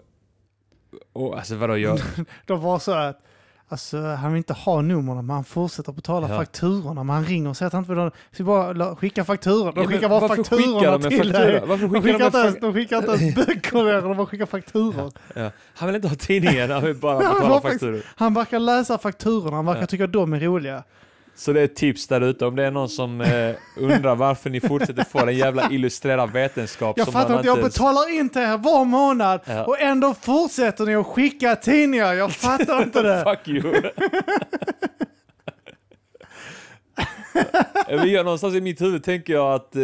Speaker 1: Och, alltså vadå, jag...
Speaker 2: De var så här att alltså, han vill inte ha numren, men han fortsätter betala
Speaker 1: Ja.
Speaker 2: fakturorna. Men han ringer och säger att han inte vill ha Så bara la- skicka fakturor. De
Speaker 1: Ja, men
Speaker 2: skickar bara
Speaker 1: varför
Speaker 2: fakturorna
Speaker 1: de en
Speaker 2: till
Speaker 1: faktura?
Speaker 2: dig.
Speaker 1: Varför
Speaker 2: De
Speaker 1: skickar
Speaker 2: skickar,
Speaker 1: de en
Speaker 2: inte ens,
Speaker 1: faktura?
Speaker 2: de skickar inte ens böcker längre, de bara skickar fakturor.
Speaker 1: Ja. Han vill inte ha tidningen, han vill bara
Speaker 2: Ja,
Speaker 1: betala
Speaker 2: vad faktiskt-
Speaker 1: fakturor.
Speaker 2: Han verkar läsa fakturorna, han verkar
Speaker 1: Ja.
Speaker 2: tycka de är roliga.
Speaker 1: Så det är ett tips där ute om det är någon som eh, undrar varför ni fortsätter få en jävla illustrerad vetenskap
Speaker 2: Jag
Speaker 1: som
Speaker 2: fattar
Speaker 1: man
Speaker 2: inte, jag
Speaker 1: ens-
Speaker 2: betalar in till er var månad
Speaker 1: Ja.
Speaker 2: och ändå fortsätter ni att skicka tidningar. Jag fattar inte det.
Speaker 1: Fuck you! Men jag, någonstans i mitt huvud tänker jag att, eh,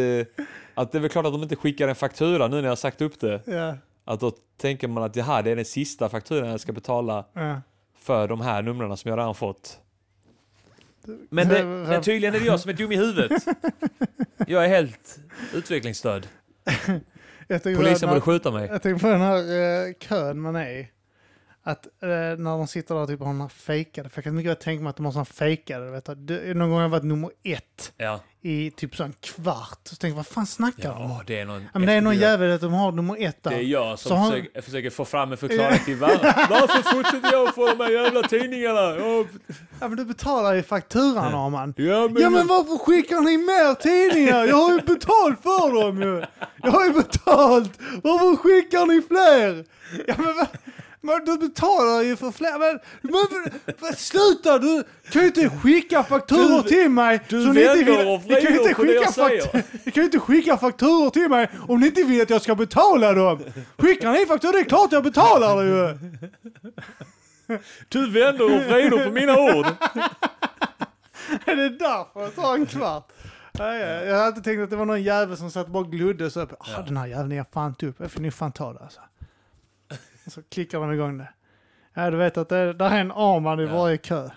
Speaker 1: att det är väl klart att de inte skickar en faktura nu när jag har sagt upp det.
Speaker 2: Ja,
Speaker 1: Att då tänker man att det här det är den sista fakturan jag ska betala
Speaker 2: ja.
Speaker 1: för de här numren som jag redan fått. Men, det, men tydligen är det jag som är dum i huvudet. Jag är helt utvecklingsstörd.
Speaker 2: Jag tänker på den
Speaker 1: Polisen
Speaker 2: här-
Speaker 1: borde skjuta mig.
Speaker 2: Jag tänker på den här eh, kön man är i. Att eh, när de sitter där och typ har den här fejkade, för jag kan mycket väl tänka mig att de har sån här fejkade, vet du. Det- Någon gång har jag varit nummer ett
Speaker 1: Ja,
Speaker 2: i typ så en kvart. Så tänker jag, vad fan snackar de om?
Speaker 1: ja det är någon...
Speaker 2: Ja, men det är någon jävel att de har nummer ett där.
Speaker 1: Det är jag som
Speaker 2: Så han-
Speaker 1: försöker, försöker få fram en förklaring till varför. Varför fortsätter jag få de här jävla tidningarna? Ja,
Speaker 2: Ja, men du betalar ju fakturan, Arman.
Speaker 1: Ja men...
Speaker 2: Ja men varför skickar ni mer tidningar? Jag har ju betalt för dem ju! Jag har ju betalt! Varför skickar ni fler? Ja men, va- men du betalar ju för fler. Men, men va- sluta! Du kan ju inte skicka fakturor
Speaker 1: Du-
Speaker 2: till mig!
Speaker 1: du
Speaker 2: som ni inte
Speaker 1: vänder
Speaker 2: vill-
Speaker 1: och
Speaker 2: ni kan ju
Speaker 1: vrider
Speaker 2: inte
Speaker 1: på det jag
Speaker 2: skicka fakt- Ni kan ju inte skicka fakturor till mig om ni inte vill att jag ska betala dem! Skickar ni fakturor, det är klart jag betalar det ju!
Speaker 1: Du vänder och vrider på mina ord.
Speaker 2: Är det därför det tar en kvart? Ja, ja. Jag hade inte tänkt att det var någon jävel som satt och bara glodde så upp. Ah, Den här jäveln är jag fan inte upp. Jag får nu fan ta det alltså. Och så klickar de igång det. Ja, du vet att det, där är en Arman i
Speaker 1: Ja.
Speaker 2: varje kö.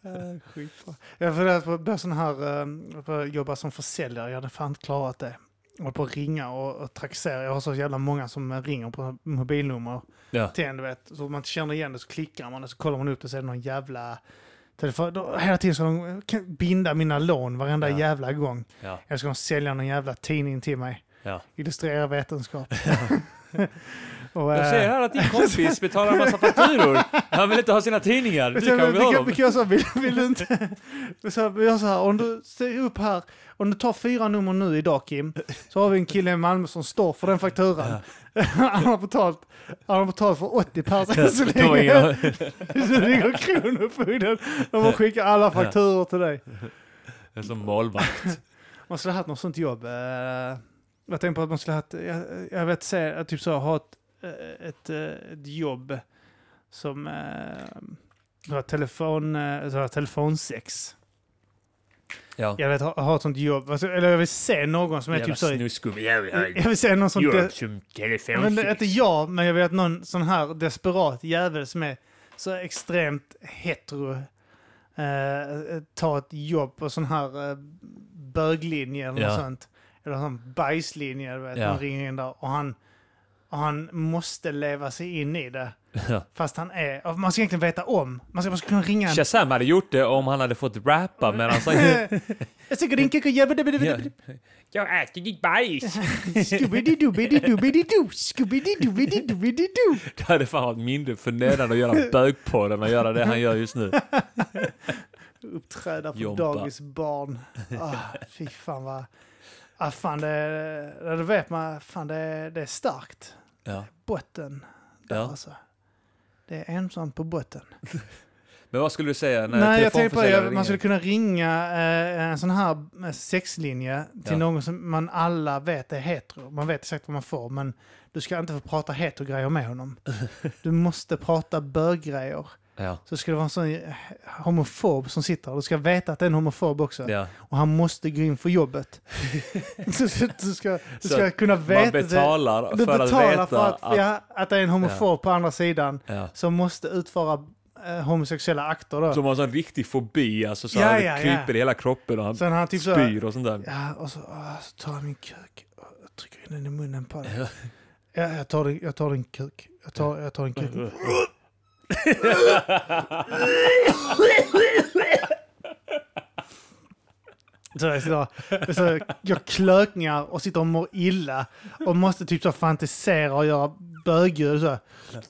Speaker 2: Ja, skitbra. Jag funderar på att börja sån här, eh, på att jobba som försäljare. Jag hade fan inte klarat det. Jag håller på att ringa och, och traxera. Jag har så jävla många som eh, ringer på mobilnummer
Speaker 1: Ja.
Speaker 2: till en, du vet. Så om man inte känner igen det så klickar man och så kollar man upp det så är det någon jävla telefon. Då, hela tiden ska de eh, kan binda mina lån varenda
Speaker 1: Ja.
Speaker 2: jävla gång.
Speaker 1: Ja.
Speaker 2: Eller ska de sälja någon jävla tidning till mig.
Speaker 1: Ja.
Speaker 2: Illustrera vetenskap. och,
Speaker 1: Jag
Speaker 2: eh,
Speaker 1: ser här att din kompis betalar en massa fakturor. Han vill inte ha sina tidningar. Du
Speaker 2: Vet jag,
Speaker 1: kan väl ha
Speaker 2: vilka,
Speaker 1: dem?
Speaker 2: vilka jag sa, vill, vill du inte? Så jag gör så här, om du ser upp här, om du tar fyra nummer nu idag Kim, så har vi en kille i Malmö som står för den fakturan. Han har betalt, han har betalt för 80 pers så
Speaker 1: Det var
Speaker 2: länge.
Speaker 1: ingen-
Speaker 2: Så ligger Kronofogden, de har skickat alla fakturor till dig.
Speaker 1: Det är som målvakt.
Speaker 2: Man skulle ha haft något sånt jobb. eh, Jag tänkte på att man skulle ha haft, jag, jag vet säga, typ så ha ett, eh, ett, eh, ett jobb som, eh, har telefon, eh, så här telefonsex.
Speaker 1: Ja.
Speaker 2: Jag vet, ha, ha ett sånt jobb, alltså, eller jag vill se någon som är
Speaker 1: Jävla
Speaker 2: typ så,
Speaker 1: snusgubbe. Jag vill ha
Speaker 2: jag vill se någon som, de,
Speaker 1: Europe som
Speaker 2: men, det är
Speaker 1: telefonsex.
Speaker 2: inte jag, men jag vill att någon sån här desperat jävel som är så extremt hetero, eh, ta ett jobb på sån här eh, böglinje eller
Speaker 1: Ja.
Speaker 2: något sånt. Eller sån bajslinje, du vet,
Speaker 1: Ja.
Speaker 2: man ringer in där och han, och han måste leva sig in i det.
Speaker 1: Ja.
Speaker 2: Fast han är, och man ska egentligen veta om, man ska, man ska kunna ringa en...
Speaker 1: Shazam hade gjort det om han hade fått rappa medan han...
Speaker 2: Jag tycker din kicka jävla...
Speaker 1: Ja.
Speaker 3: Jag äter ditt bajs.
Speaker 2: Scooby-Doo-Biddy-Doo-Biddy-Doo, Scooby-Doo-Biddy-Doo-Biddy-Doo.
Speaker 1: Det hade fan varit mindre förnedrande att göra bögpodd än att göra det han gör just nu.
Speaker 2: uppträda för
Speaker 1: Jompa.
Speaker 2: dagisbarn. Ah, fy fan vad... Ah, fan det, ja, det vet man, fan det, det är starkt.
Speaker 1: Ja.
Speaker 2: Botten där
Speaker 1: Ja.
Speaker 2: alltså. Det är ensam på botten.
Speaker 1: Men vad skulle du säga när
Speaker 2: Nej, jag tänkte på det,
Speaker 1: telefonförsäljaren
Speaker 2: man skulle
Speaker 1: ringer?
Speaker 2: kunna ringa eh, en sån här eh, sexlinje till
Speaker 1: Ja.
Speaker 2: någon som man alla vet är hetero. Man vet exakt vad man får, men du ska inte få prata hetero-grejer med honom. Du måste prata bög-grejer.
Speaker 1: Ja.
Speaker 2: Så ska det vara en sån eh, homofob som sitter där. Du ska veta att det är en homofob också.
Speaker 1: Ja.
Speaker 2: och han måste gå in för jobbet. så, så, du ska,
Speaker 1: Så
Speaker 2: du ska kunna
Speaker 1: Man
Speaker 2: veta det.
Speaker 1: betalar
Speaker 2: Du
Speaker 1: för
Speaker 2: betalar
Speaker 1: att veta
Speaker 2: för att, Ja, att det är en homofob på andra sidan
Speaker 1: Ja.
Speaker 2: som måste utföra eh, homosexuella akter då.
Speaker 1: Som har en sån riktig fobi, alltså så
Speaker 2: Ja,
Speaker 1: här,
Speaker 2: ja,
Speaker 1: det kryper
Speaker 2: ja.
Speaker 1: i hela kroppen och han
Speaker 2: Sen har han typ så här,
Speaker 1: spyr och sånt där.
Speaker 2: ja, och så, ah, så tar han min kuk och trycker in den i munnen på dig. Ja, jag tar din, jag tar din kuk. Jag tar, jag tar din kuk. Så jag, sitter, och- så jag klökningar och sitter och mår illa och måste typ så fantisera och göra bögljud. Så. Ja,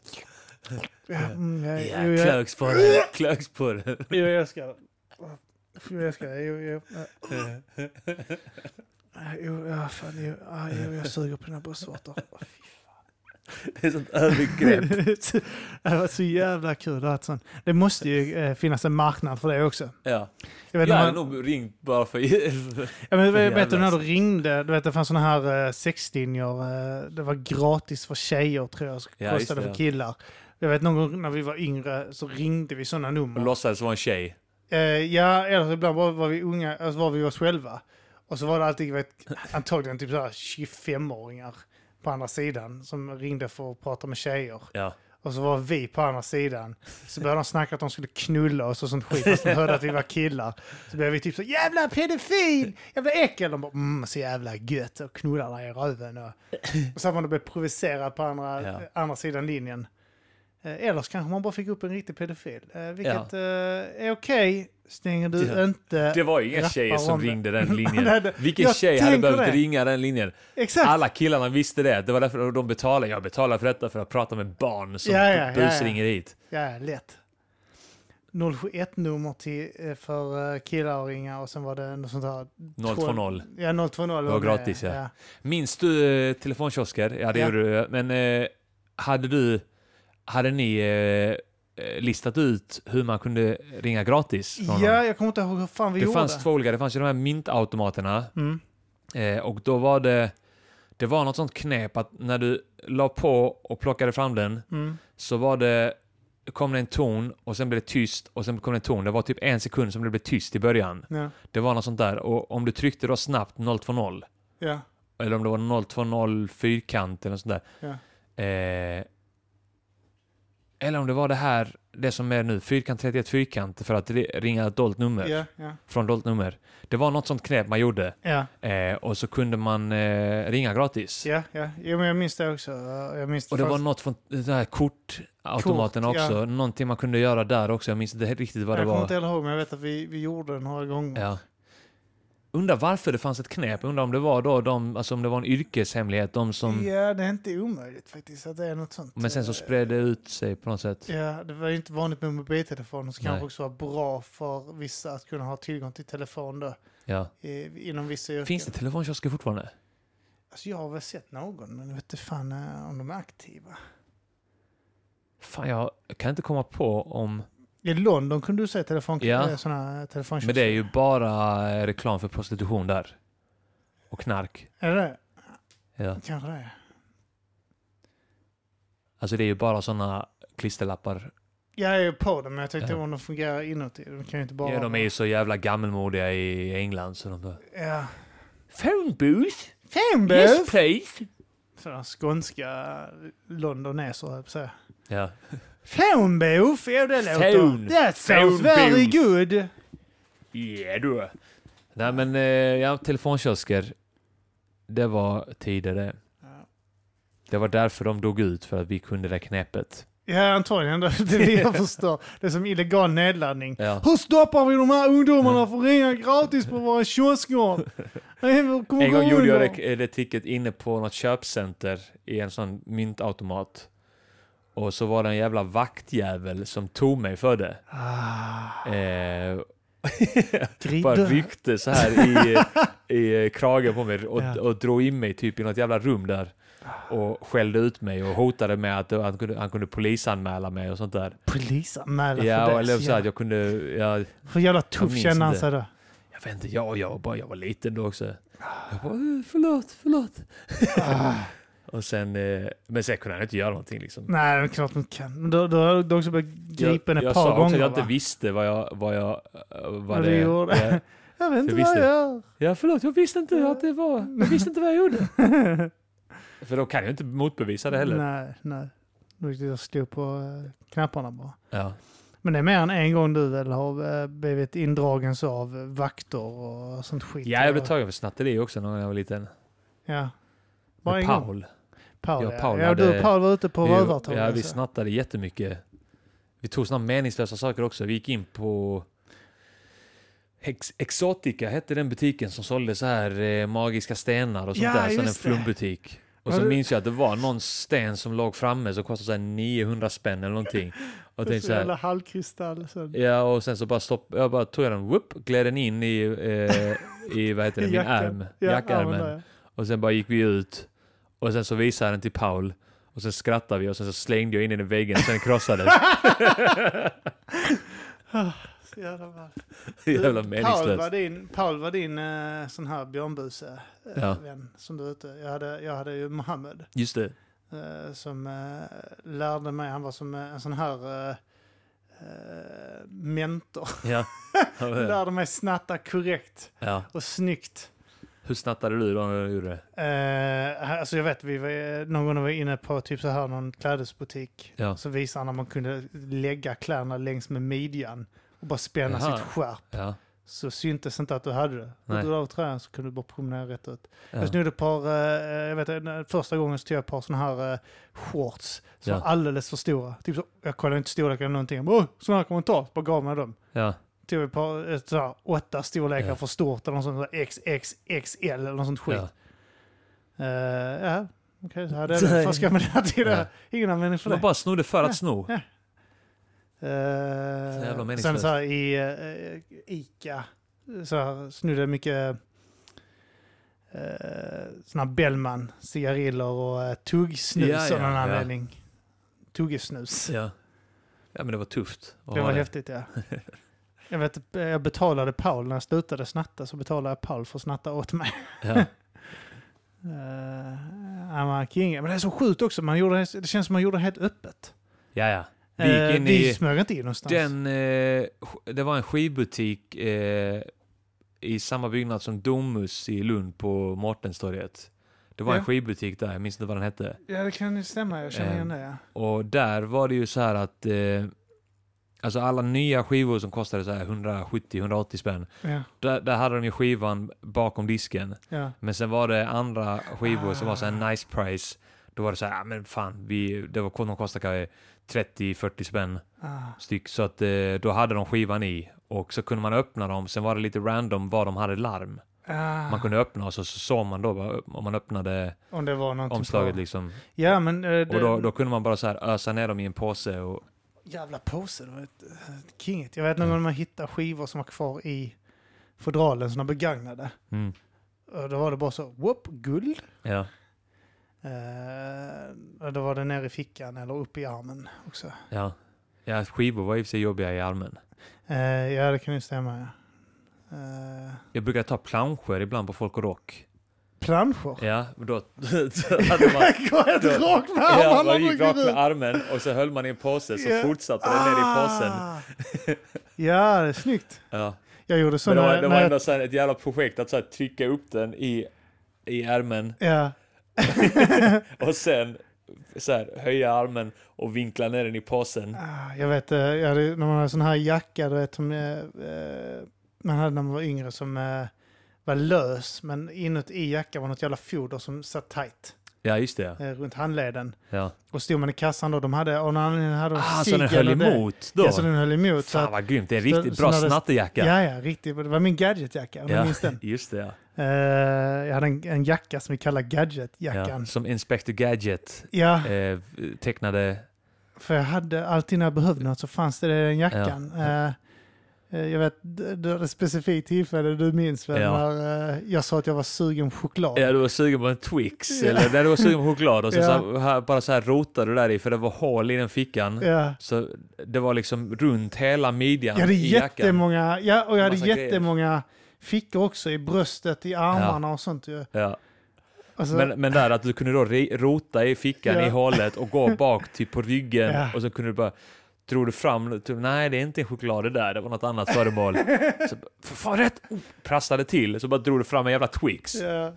Speaker 2: mm, jag,
Speaker 1: Ja,
Speaker 2: jo, jag,
Speaker 1: klöks på det, klöks på det.
Speaker 2: jo, jag ska... Jo, jag ska... Jo, jag, jo, ja, fan, jo, ja, jo, jag suger på dina bröstvårtor.
Speaker 1: Det är sånt övergrepp.
Speaker 2: det var så jävla kul. att sån- Det måste ju eh, finnas en marknad för det också.
Speaker 1: Ja.
Speaker 2: Jag vet,
Speaker 1: Jag
Speaker 2: när
Speaker 1: hade
Speaker 2: man,
Speaker 1: nog ringt bara för...
Speaker 2: ja, men,
Speaker 1: Jävlar.
Speaker 2: vet du när du ringde? Du vet, det fanns såna här eh, sexlinjer. Eh, det var gratis för tjejer tror jag.
Speaker 1: Ja, just
Speaker 2: kostade
Speaker 1: det,
Speaker 2: för
Speaker 1: ja.
Speaker 2: killar. Jag vet någon gång när vi var yngre så ringde vi sådana
Speaker 1: Och
Speaker 2: nummer.
Speaker 1: låtsades vara en tjej.
Speaker 2: Eh, ja, eller så ibland var, var vi unga, alltså var vi oss själva. Och så var det alltid, vet, antagligen typ så här 25-åringar på andra sidan som ringde för att prata med tjejer.
Speaker 1: Ja.
Speaker 2: Och Och så var vi på andra sidan. Så började de snacka att de skulle knulla oss och sånt skit. Fast de hörde att vi var killar. Så blev vi typ så jävla pedofil! Jävla äckel! De bara mm, så jävla gött och knullar dig i röven. Och, och så att man då blev provocerad på andra,
Speaker 1: Ja.
Speaker 2: andra sidan linjen. Eh, Eller så kanske man bara fick upp en riktig pedofil. Eh, Vilket eh, är okej, stänger du
Speaker 1: Det-
Speaker 2: inte...
Speaker 1: Det var ju inga
Speaker 2: Rappar
Speaker 1: tjejer
Speaker 2: om
Speaker 1: som
Speaker 2: det.
Speaker 1: ringde den
Speaker 2: Nej,
Speaker 1: linjen.
Speaker 2: det-
Speaker 1: Vilken
Speaker 2: jag
Speaker 1: tjej hade
Speaker 2: tänker
Speaker 1: behövt
Speaker 2: det.
Speaker 1: ringa den linjen?
Speaker 2: Exakt!
Speaker 1: Alla killarna visste det. Det var därför de betalade. Jag betalar för detta för att prata med barn som
Speaker 2: Ja, ja, ja, ja.
Speaker 1: busringer hit.
Speaker 2: Ja, lätt. 071-nummer till, eh, för eh, killar och ringa och sen var det något sånt här...
Speaker 1: 020.
Speaker 2: Ja, 020. Det
Speaker 1: var gratis, ja. Minns du eh, telefonkiosker? Ja, det
Speaker 2: Ja.
Speaker 1: gjorde du. Men eh, hade du... Hade ni eh, eh, listat ut hur man kunde ringa gratis? från
Speaker 2: Ja,
Speaker 1: någon?
Speaker 2: ja jag kommer inte ihåg hur fan vi
Speaker 1: det
Speaker 2: gjorde.
Speaker 1: fanns två olika. Det fanns ju de här myntautomaterna.
Speaker 2: Mm.
Speaker 1: Eh, och då var det... Det var något sånt knep att när du la på och plockade fram den
Speaker 2: Mm.
Speaker 1: så var det... kom det en ton och sen blev det tyst och sen kom det en ton. Det var typ en sekund som det blev tyst i början.
Speaker 2: Ja.
Speaker 1: Det var något sånt där. Och om du tryckte då snabbt 020
Speaker 2: ja.
Speaker 1: eller om det var 020 fyrkant eller något sånt där. Eh, eller om det var det här, det som är nu, fyrkant 31 fyrkant för att ri- ringa ett dolt nummer.
Speaker 2: Ja, ja.
Speaker 1: Från dolt nummer. Det var något sånt knep man gjorde.
Speaker 2: Ja,
Speaker 1: Eh, och så kunde man eh, ringa gratis.
Speaker 2: ja, ja. Jo, men jag minns det också. Jag minns
Speaker 1: Och det var
Speaker 2: först.
Speaker 1: något från den här kortautomaten
Speaker 2: Kort, ja.
Speaker 1: också. Någonting man kunde göra där också. Jag minns inte helt riktigt vad det
Speaker 2: jag kommer
Speaker 1: var.
Speaker 2: inte ihåg, men jag vet att vi, vi gjorde det några gånger.
Speaker 1: Ja. Undrar varför det fanns ett knep. Undrar om det var då de, alltså om det var en yrkeshemlighet. De som,
Speaker 2: Ja, det är inte omöjligt faktiskt att det är något sånt.
Speaker 1: Men sen så
Speaker 2: Eh,
Speaker 1: spred det ut sig på något sätt.
Speaker 2: Ja, det var ju inte vanligt med mobiltelefoner så
Speaker 1: Nej.
Speaker 2: kanske också var bra för vissa att kunna ha tillgång till telefon då.
Speaker 1: Ja.
Speaker 2: eh, Inom vissa yrken.
Speaker 1: Finns det telefonkiosker fortfarande?
Speaker 2: Alltså jag har väl sett någon, men jag vet inte fan eh, om de är aktiva.
Speaker 1: Fan, jag kan inte komma på om...
Speaker 2: I London kunde du se telefon,
Speaker 1: Ja.
Speaker 2: ja. sådana telefonkiosker.
Speaker 1: Men det är ju bara eh, reklam för prostitution där. Och knark.
Speaker 2: Är det det?
Speaker 1: Ja.
Speaker 2: Kanske det. är.
Speaker 1: Alltså det är ju bara sådana klisterlappar.
Speaker 2: Jag är ju på dem, men jag tänkte
Speaker 1: Ja.
Speaker 2: om de fungerar inuti. De kan ju inte bara...
Speaker 1: Ja, de är ju så jävla gammelmodiga i England så de bara...
Speaker 2: Ja.
Speaker 1: Phone booth?
Speaker 2: Fan,
Speaker 1: Yes
Speaker 2: yes.
Speaker 1: please!
Speaker 2: Sådana skånska londonesor, höll jag på att säga.
Speaker 1: Ja.
Speaker 2: Phonebooth? Ja, det
Speaker 1: Phone.
Speaker 2: låter... That sounds
Speaker 1: Phonebooth.
Speaker 2: very good!
Speaker 1: Yeah du. Nej men, eh, ja, telefonkiosker. Det var tider det.
Speaker 2: Ja.
Speaker 1: Det var därför de dog ut, för att vi kunde det knepet.
Speaker 2: Ja, antagligen. Det är det jag förstår. Det är som illegal nedladdning.
Speaker 1: Ja.
Speaker 2: Hur stoppar vi de här ungdomarna från att ringa gratis på våra kioskgård?
Speaker 1: En gång gjorde jag det, det tricket inne på något köpcenter i en sån myntautomat. Och så var det en jävla vaktjävel som tog mig för det.
Speaker 2: Ah,
Speaker 1: Eh, bara
Speaker 2: Grider.
Speaker 1: ryckte så här i, i kragen på mig och,
Speaker 2: Ja.
Speaker 1: och drog in mig typ i något jävla rum där. Och skällde ut mig och hotade med att han kunde, han kunde polisanmäla mig och sånt där.
Speaker 2: Polisanmälan
Speaker 1: Ja,
Speaker 2: för
Speaker 1: och
Speaker 2: det.
Speaker 1: eller
Speaker 2: Så
Speaker 1: så att
Speaker 2: jävla,
Speaker 1: jag kunde... Jag,
Speaker 2: hur jävla
Speaker 1: Jag
Speaker 2: tuff
Speaker 1: minns
Speaker 2: känner han
Speaker 1: inte.
Speaker 2: sig då?
Speaker 1: jag vet inte, jag, jag, bara, jag var liten då också. Jag bara, "Eh, förlåt, förlåt.
Speaker 2: Ah,
Speaker 1: Och sen, eh, men sen kunde han inte göra någonting liksom.
Speaker 2: nej, det är klart de kan. Men då, då har du också blivit Mm.
Speaker 1: jag,
Speaker 2: gripen ett
Speaker 1: jag
Speaker 2: par
Speaker 1: sa också
Speaker 2: gånger
Speaker 1: att jag inte
Speaker 2: va?
Speaker 1: visste vad jag... Vad jag eh, vad
Speaker 2: Vad du
Speaker 1: det,
Speaker 2: gjorde.
Speaker 1: Ja.
Speaker 2: Jag vet inte
Speaker 1: visst
Speaker 2: vad jag
Speaker 1: det.
Speaker 2: gör.
Speaker 1: ja, förlåt, jag visste inte att det var... Jag visste inte vad jag gjorde. För då kan jag inte motbevisa det heller.
Speaker 2: Nej, nej. Det är riktigt att slå på eh, knapparna bara.
Speaker 1: Ja.
Speaker 2: Men det är mer än en gång du väl har eh, blivit indragen så av vakter och sånt skit.
Speaker 1: ja, jag blev tagen för snatteri också någon gång när jag var liten.
Speaker 2: Ja. Bara
Speaker 1: Med
Speaker 2: en gång.
Speaker 1: Paul.
Speaker 2: Paul,
Speaker 1: Jag och
Speaker 2: ja.
Speaker 1: Paul
Speaker 2: ja, du
Speaker 1: hade-
Speaker 2: och Paul var ute på
Speaker 1: Vi-
Speaker 2: rövartåg.
Speaker 1: ja, vi
Speaker 2: alltså.
Speaker 1: snattade jättemycket. Vi tog såna meningslösa saker också. Vi gick in på... Hex- Exotica hette den butiken som sålde så här eh, magiska stenar och sånt
Speaker 2: Ja,
Speaker 1: där. Sen en
Speaker 2: just det.
Speaker 1: flumbutik. Och
Speaker 2: Var
Speaker 1: så
Speaker 2: det-
Speaker 1: minns jag att det var någon sten som låg framme som kostade så här 900 spänn eller någonting. Och jag
Speaker 2: Det är
Speaker 1: tänkte så
Speaker 2: så jävla
Speaker 1: här,
Speaker 2: halvkristall. Så.
Speaker 1: ja och sen så bara stopp, jag bara tog jag den, whoop, gled den in i, eh, i vad heter det,
Speaker 2: I
Speaker 1: min
Speaker 2: jackan.
Speaker 1: arm,
Speaker 2: Ja,
Speaker 1: jackärmen.
Speaker 2: armen där,
Speaker 1: Och sen bara gick vi ut. Och sen så visade jag den till Paul. Och sen skrattade vi och sen så slängde jag in den i väggen och sen krossades.
Speaker 2: ja. Så jävla ball.
Speaker 1: Jävla
Speaker 2: Paul var
Speaker 1: meningslöst.
Speaker 2: din, Paul var din eh, sån här björnbuse eh,
Speaker 1: Ja.
Speaker 2: vän som du ute. Jag hade, jag hade ju Mohammed
Speaker 1: Just det.
Speaker 2: eh, som eh, lärde mig, han var som eh, en sån här eh, eh, mentor.
Speaker 1: Ja. Ja, men-
Speaker 2: Lärde mig snatta korrekt
Speaker 1: ja.
Speaker 2: och snyggt.
Speaker 1: Hur snattade du då när du gjorde det?
Speaker 2: Eh, alltså jag vet, vi var, någon gång var jag inne på typ så här någon klädesbutik.
Speaker 1: Ja.
Speaker 2: Så visade han när man kunde lägga kläderna längs med midjan och bara spänna
Speaker 1: Jaha.
Speaker 2: sitt skärp.
Speaker 1: Ja.
Speaker 2: Så syntes inte att du hade det.
Speaker 1: Nej.
Speaker 2: Och du la av tröjan så kunde du bara promenera rätt ut.
Speaker 1: ja.
Speaker 2: Jag snodde ett par, eh, jag vet inte, första gången så tog jag ett par sådana här eh, shorts som
Speaker 1: Ja.
Speaker 2: var alldeles för stora. Typ så, jag kollade inte storleken eller någonting. Jag bara, "Åh, sådana här kan man ta. Bara gav mig dem.
Speaker 1: ja.
Speaker 2: Tog ett par, ett sådär, åtta storlekar
Speaker 1: Ja.
Speaker 2: för stort eller något sånt. där XXXL eller något sånt skit.
Speaker 1: Ja.
Speaker 2: Eh, ja, okej, så hade jag det. Vad ska jag med det här till?
Speaker 1: Ja.
Speaker 2: Ingen användning för
Speaker 1: Man
Speaker 2: det.
Speaker 1: bara snodde för att sno.
Speaker 2: Ja. Eh,
Speaker 1: Så jävla
Speaker 2: sen
Speaker 1: meningslöst.
Speaker 2: så här i eh, Ica så här snodde jag mycket uh, såna här Bellman, cigariller och uh, tuggsnus
Speaker 1: Ja, ja,
Speaker 2: av någon
Speaker 1: ja.
Speaker 2: anledning. Tuggesnus.
Speaker 1: Ja. ja, men det var tufft. att
Speaker 2: det
Speaker 1: ha
Speaker 2: var häftigt ja. jag, vet, eh, jag betalade Paul, när jag slutade snatta så betalade jag Paul för att snatta åt mig.
Speaker 1: Ja.
Speaker 2: Eh, han var king. Men det är så sjukt också, man gjorde, det känns som man gjorde det helt öppet.
Speaker 1: ja, ja. Vi
Speaker 2: Vi,
Speaker 1: gick
Speaker 2: eh,
Speaker 1: in
Speaker 2: vi
Speaker 1: i
Speaker 2: smög inte in någonstans.
Speaker 1: den... Eh, sk- det var en skivbutik eh, i samma byggnad som Domus i Lund på Mårtenstorget. Det var
Speaker 2: Ja.
Speaker 1: en skivbutik där, jag minns inte vad den hette.
Speaker 2: Ja, det kan ju stämma. Jag känner
Speaker 1: Eh,
Speaker 2: igen det. Ja.
Speaker 1: Och där var det ju så här att eh, alltså alla nya skivor som kostade så här 170-180 spänn,
Speaker 2: Ja,
Speaker 1: där, där hade de ju skivan bakom disken.
Speaker 2: ja.
Speaker 1: Men sen var det andra skivor som var så
Speaker 2: Ah.
Speaker 1: här nice price. Då var det så här, ah, men fan, vi, det var, de kostade kanske 30-40 spänn
Speaker 2: Ah,
Speaker 1: styck. Så att eh, då hade de skivan i och så kunde man öppna dem. Sen var det lite random vad de hade larm.
Speaker 2: ah.
Speaker 1: Man kunde öppna och så, så såg man då bara om man öppnade
Speaker 2: Om det var någonting
Speaker 1: omslaget
Speaker 2: på.
Speaker 1: liksom.
Speaker 2: Ja, men... eh, det,
Speaker 1: Och då, då kunde man bara så här ösa ner dem i en påse och
Speaker 2: Jävla pose. Det var ett, ett kinget. Jag vet någon
Speaker 1: Mm.
Speaker 2: gång man hittade skivor som var kvar i fodralen, sådana begagnade.
Speaker 1: mm,
Speaker 2: Och då var det bara så, whoop, guld.
Speaker 1: ja.
Speaker 2: Eh, och då var det ner i fickan eller upp i armen också.
Speaker 1: Ja. ja, skivor var i och för sig jobbiga i armen.
Speaker 2: Eh, ja, det kan ju stämma. Ja. Eh,
Speaker 1: Jag brukar ta planscher ibland på folk och rock.
Speaker 2: planscher.
Speaker 1: Ja, men då hade man...
Speaker 2: Går helt
Speaker 1: Då-
Speaker 2: rakt med
Speaker 1: Ja,
Speaker 2: armarna
Speaker 1: man gick
Speaker 2: brukar
Speaker 1: rakt
Speaker 2: vi-
Speaker 1: med armen och så höll man i en påse så
Speaker 2: Ja. Ah.
Speaker 1: fortsatte den ner i påsen.
Speaker 2: ja, det är snyggt.
Speaker 1: Ja.
Speaker 2: Jag gjorde så
Speaker 1: Men det var,
Speaker 2: när,
Speaker 1: det var
Speaker 2: när
Speaker 1: ändå så här ett jävla projekt att så här trycka upp den i, i ärmen
Speaker 2: Ja,
Speaker 1: och sen så här höja armen och vinkla ner den i påsen.
Speaker 2: ah, jag vet, eh, jag hade, när man hade sån här jacka, du vet, som eh, eh, man hade när man var yngre, som eh, var lös, men inuti jackan var något jävla foder som satt tajt
Speaker 1: Ja, just det.
Speaker 2: eh, runt handleden.
Speaker 1: Ja.
Speaker 2: Och stod man i kassan då, de hade, och när den hade de
Speaker 1: Ah, så
Speaker 2: cigg
Speaker 1: den höll
Speaker 2: eller det.
Speaker 1: emot då?
Speaker 2: Ja, så den höll emot. Så
Speaker 1: Fan
Speaker 2: att,
Speaker 1: vad grymt, det är en
Speaker 2: så-
Speaker 1: riktigt
Speaker 2: så
Speaker 1: bra
Speaker 2: när det-
Speaker 1: snattejacka.
Speaker 2: ja, ja, riktigt. Det var min gadgetjacka, om jag minns den.
Speaker 1: just det. Ja.
Speaker 2: Eh, jag hade en, en jacka som vi kallar
Speaker 1: Ja.
Speaker 2: gadgetjackan.
Speaker 1: Som Inspector Gadget
Speaker 2: Ja.
Speaker 1: eh, tecknade.
Speaker 2: För jag hade alltid när jag behövde något så fanns det i den jackan. Eh, eh, jag vet, d- det var ett specifikt tillfälle du minns väl
Speaker 1: Ja.
Speaker 2: när eh, jag sa att jag var sugen på choklad.
Speaker 1: Ja, du var sugen på en Twix,
Speaker 2: Ja.
Speaker 1: eller när du var sugen på choklad och sen
Speaker 2: Ja.
Speaker 1: så här, bara så här rotade du där i för det var hål i den fickan.
Speaker 2: Ja.
Speaker 1: Så det var liksom runt hela midjan
Speaker 2: Jag hade
Speaker 1: i jackan.
Speaker 2: jättemånga, ja, och jag hade
Speaker 1: Massa grejer.
Speaker 2: jättemånga fickor också i bröstet, i armarna och sånt ju.
Speaker 1: Ja.
Speaker 2: Alltså,
Speaker 1: Men, men där att du kunde då ri- rota i fickan
Speaker 2: Ja.
Speaker 1: i hålet och gå bak typ på ryggen
Speaker 2: Ja.
Speaker 1: och så kunde du bara drog du fram, typ, nej det är inte en choklad det där, det var något annat föremål. Så, bara, för fan rätt! Oh, prasslade till, så bara drog du fram en jävla Twix,
Speaker 2: ja.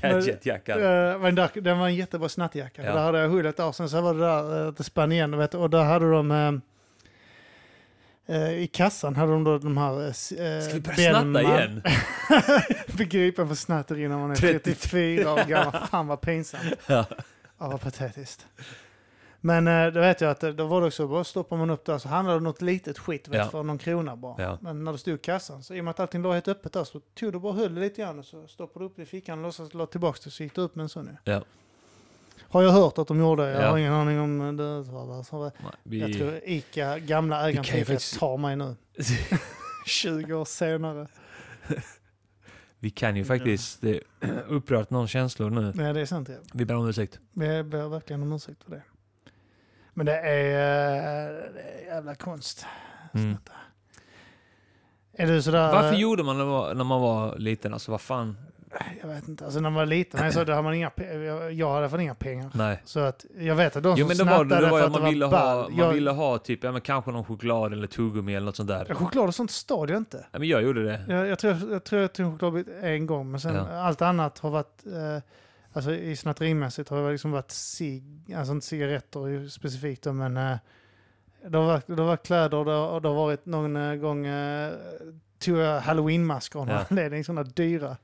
Speaker 1: gadgetjackan.
Speaker 2: Eh, men där, den var en jättebra snattjacka.
Speaker 1: Ja.
Speaker 2: Där hade jag hullet av. Sen så var det där eh, att det spann igen. Vet, du, och där hade de... eh, eh, I kassan hade de då de här... eh, s- eh,
Speaker 1: Ska vi börja snatta
Speaker 2: Bellman-
Speaker 1: igen?
Speaker 2: begripen för snatteri när man är
Speaker 1: 34
Speaker 2: 34 år gammal. Fan vad pinsamt.
Speaker 1: Ja.
Speaker 2: Ja, vad patetiskt. Men eh, då vet jag att eh, då var det också, bara stoppar man upp där så handlade det om något litet skit vet,
Speaker 1: Ja.
Speaker 2: för någon krona bara.
Speaker 1: Ja.
Speaker 2: Men när du stod i kassan, så i och med att allting låg helt öppet där så tog du bara och höll det lite grann och så stoppade du upp det i fickan och låtsades la tillbaka det så gick du upp med en sån nu.
Speaker 1: Ja.
Speaker 2: Har jag hört att de gjorde det? Jag
Speaker 1: Ja.
Speaker 2: har ingen aning om eh, det. utförda, så
Speaker 1: Nej,
Speaker 2: Jag
Speaker 1: Vi,
Speaker 2: tror Ica, gamla ägaren
Speaker 1: kan
Speaker 2: till
Speaker 1: ju
Speaker 2: Ica
Speaker 1: faktiskt-
Speaker 2: tar mig nu. 20 år senare.
Speaker 1: vi kan ju faktiskt eh, upprört någon känslor nu.
Speaker 2: Nej, det är sant. Ja.
Speaker 1: Vi ber om ursäkt.
Speaker 2: Jag ber verkligen om ursäkt för det. Men det är, eh, det är jävla konst.
Speaker 1: Mm.
Speaker 2: Snatta. Är du sådär...
Speaker 1: Varför gjorde man det när man var liten? Alltså vad fan?
Speaker 2: jag vet inte, alltså när man var liten, men så, då hade man inga, pe- jag- jag hade fått inga pengar.
Speaker 1: Nej.
Speaker 2: Så att jag vet att de
Speaker 1: Jo men
Speaker 2: som
Speaker 1: det var det,
Speaker 2: snattade
Speaker 1: det var ju
Speaker 2: för att
Speaker 1: att
Speaker 2: det
Speaker 1: man ville
Speaker 2: var
Speaker 1: ha,
Speaker 2: ball.
Speaker 1: man ville ha typ, ja men kanske någon choklad eller tuggummi eller något sånt där.
Speaker 2: jag, choklad och sånt stal jag inte.
Speaker 1: Ja men jag gjorde det.
Speaker 2: Jag, jag, tror, jag, tror jag tog en chokladbit en gång, men sen
Speaker 1: Ja.
Speaker 2: allt annat har varit, eh, alltså i snatterimässigt har det liksom varit cig, alltså inte cigaretter ju specifikt då, men eh, det har varit, det har varit kläder och det har, och det har varit någon eh, gång eh, tog jag halloweenmasker av någon
Speaker 1: Ja.
Speaker 2: anledning, sådana dyra.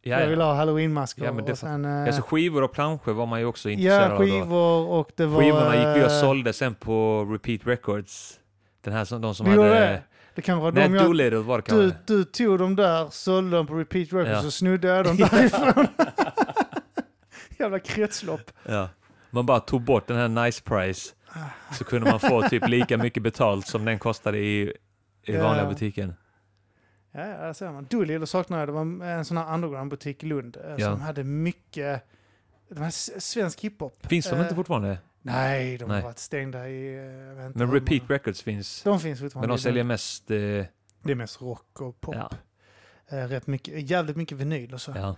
Speaker 1: Ja,
Speaker 2: Jag ville
Speaker 1: ja.
Speaker 2: ha halloweenmasker.
Speaker 1: Ja, men det
Speaker 2: och sen, eh,
Speaker 1: Alltså skivor och planscher var man ju också intresserad
Speaker 2: ja,
Speaker 1: av. då.
Speaker 2: skivor och det var...
Speaker 1: Skivorna gick vi och
Speaker 2: eh,
Speaker 1: sålde sen på Repeat Records. Den här som, de som
Speaker 2: Ni
Speaker 1: hade...
Speaker 2: gjorde det? eh, Det kanske var
Speaker 1: Nej,
Speaker 2: de jag...
Speaker 1: Doolittle var det
Speaker 2: Du,
Speaker 1: kanske.
Speaker 2: du tog dem där, sålde dem på repeat records
Speaker 1: Ja.
Speaker 2: och snodde jag dem därifrån. Jävla kretslopp.
Speaker 1: Ja. Man bara tog bort den här nice price. Så kunde man få typ lika mycket betalt som den kostade i, i
Speaker 2: Ja.
Speaker 1: vanliga butiken.
Speaker 2: Ja, ja, där ser man. Doolittle saknade jag. Det var en sån här undergroundbutik i Lund eh,
Speaker 1: Ja.
Speaker 2: som hade mycket de här s- svensk hiphop.
Speaker 1: Finns de
Speaker 2: Eh,
Speaker 1: inte fortfarande?
Speaker 2: Nej, de
Speaker 1: Nej.
Speaker 2: har varit stängda i... eh, jag vet inte
Speaker 1: Men
Speaker 2: hur
Speaker 1: Repeat
Speaker 2: många-
Speaker 1: Records finns.
Speaker 2: De finns fortfarande.
Speaker 1: Men de
Speaker 2: i
Speaker 1: säljer
Speaker 2: Lund.
Speaker 1: mest... Eh,
Speaker 2: Det är mest rock och pop.
Speaker 1: ja,
Speaker 2: Eh, Rätt mycket, jävligt mycket vinyl och så.
Speaker 1: ja.
Speaker 2: Eh,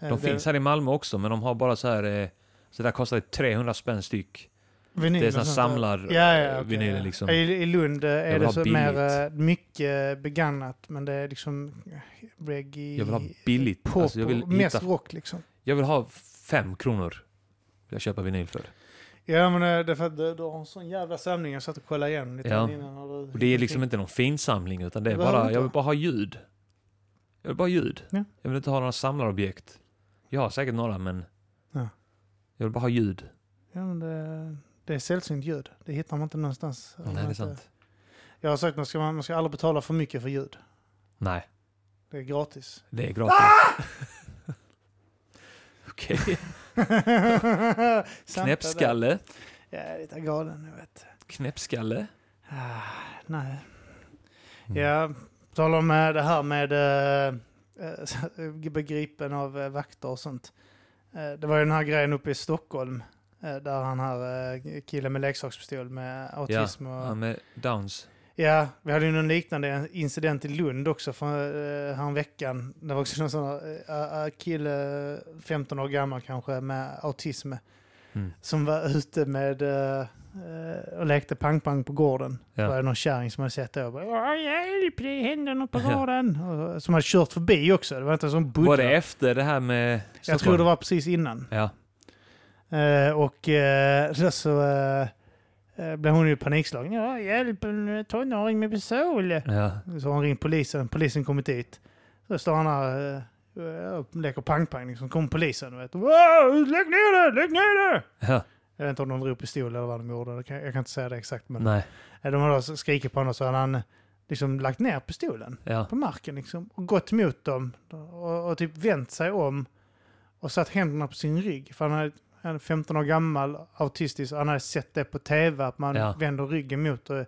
Speaker 1: De
Speaker 2: det-
Speaker 1: finns här i Malmö också, men de har bara så här... Eh, så där kostar det 300 spän styck.
Speaker 2: Vinyl
Speaker 1: Det är
Speaker 2: och
Speaker 1: såna
Speaker 2: sånt där.
Speaker 1: samlar
Speaker 2: ja, ja,
Speaker 1: eh,
Speaker 2: okej,
Speaker 1: vinyler
Speaker 2: ja.
Speaker 1: liksom.
Speaker 2: I, I Lund eh, är
Speaker 1: vill
Speaker 2: det
Speaker 1: ha
Speaker 2: så mer,
Speaker 1: billigt.
Speaker 2: eh, mycket begagnat, men det är liksom eh, reggae,
Speaker 1: Jag vill ha billigt.
Speaker 2: pop,
Speaker 1: Alltså, jag vill
Speaker 2: och mest
Speaker 1: hitta-
Speaker 2: rock liksom.
Speaker 1: Jag vill ha fem kronor. Jag köper vinyl för.
Speaker 2: Ja, men eh, det är för att du, du har en sån jävla samling. Jag satt och kollade igen lite
Speaker 1: Ja.
Speaker 2: innan. Och du,
Speaker 1: Och det är liksom inte någon fin samling utan det är
Speaker 2: Det behöver
Speaker 1: bara,
Speaker 2: inte
Speaker 1: jag
Speaker 2: vara.
Speaker 1: vill bara ha ljud. Jag vill bara ha ljud.
Speaker 2: Ja.
Speaker 1: Jag vill inte ha några samlarobjekt. Jag har säkert några men
Speaker 2: Ja.
Speaker 1: jag vill bara ha ljud.
Speaker 2: Ja, men det, det är sällsynt ljud. Det hittar man inte någonstans. Om man
Speaker 1: Nej, det är
Speaker 2: inte-
Speaker 1: sant.
Speaker 2: Jag har sagt att man ska, man ska aldrig betala för mycket för ljud.
Speaker 1: Nej,
Speaker 2: Det är gratis.
Speaker 1: det är gratis.
Speaker 2: Ah!
Speaker 1: Okej,
Speaker 2: Samtal där.
Speaker 1: knäppskalle.
Speaker 2: Jag är lite galen, jag vet.
Speaker 1: Knäppskalle.
Speaker 2: Ah, nej.
Speaker 1: Mm.
Speaker 2: Ja, på tal om eh, det här med eh, eh, begripen av eh, vakter och sånt. Eh, Det var ju den här grejen uppe i Stockholm eh, där han här eh, killen med leksakspistol med
Speaker 1: Ja,
Speaker 2: autism och...
Speaker 1: han med Downs.
Speaker 2: Ja, vi hade ju någon liknande incident i Lund också för uh, häromveckan. Det var också någon sån här eh, eh, kille, 15 år gammal kanske, med autism.
Speaker 1: Mm.
Speaker 2: Som var ute med eh, eh, och lekte pang-pang på gården.
Speaker 1: Ja.
Speaker 2: Det var någon kärring som hade sett det och bara "Åh, hjälp, det händer något på
Speaker 1: Ja.
Speaker 2: gården. Och, eh, som hade kört förbi också. Det var inte en sån buddha.
Speaker 1: Var det efter det här med
Speaker 2: Jag tror det var precis innan.
Speaker 1: Ja,
Speaker 2: Eh, och eh, så, så eh, eh, blev hon ju panikslagen. Ja, hjälp, en tonåring med pistol.
Speaker 1: ja.
Speaker 2: Så har han ringt polisen, polisen kommit dit. Så står han där eh, eh, och leker pang-pang. Liksom. Kom polisen och vet. Wow, lägg ner det, lägg ner det!
Speaker 1: ja.
Speaker 2: Jag vet inte om de drog pistol eller vad de gjorde. Jag kan, jag kan inte säga det exakt. Men
Speaker 1: Nej,
Speaker 2: Eh, de har då skrikit på honom så hade han liksom lagt ner pistolen
Speaker 1: ja.
Speaker 2: på marken liksom, och gått mot dem och, och typ vänt sig om och satt händerna på sin rygg. För han är- han är 15 år gammal, autistisk, och han hade sett det på tv att man
Speaker 1: Ja.
Speaker 2: vänder ryggen mot eh,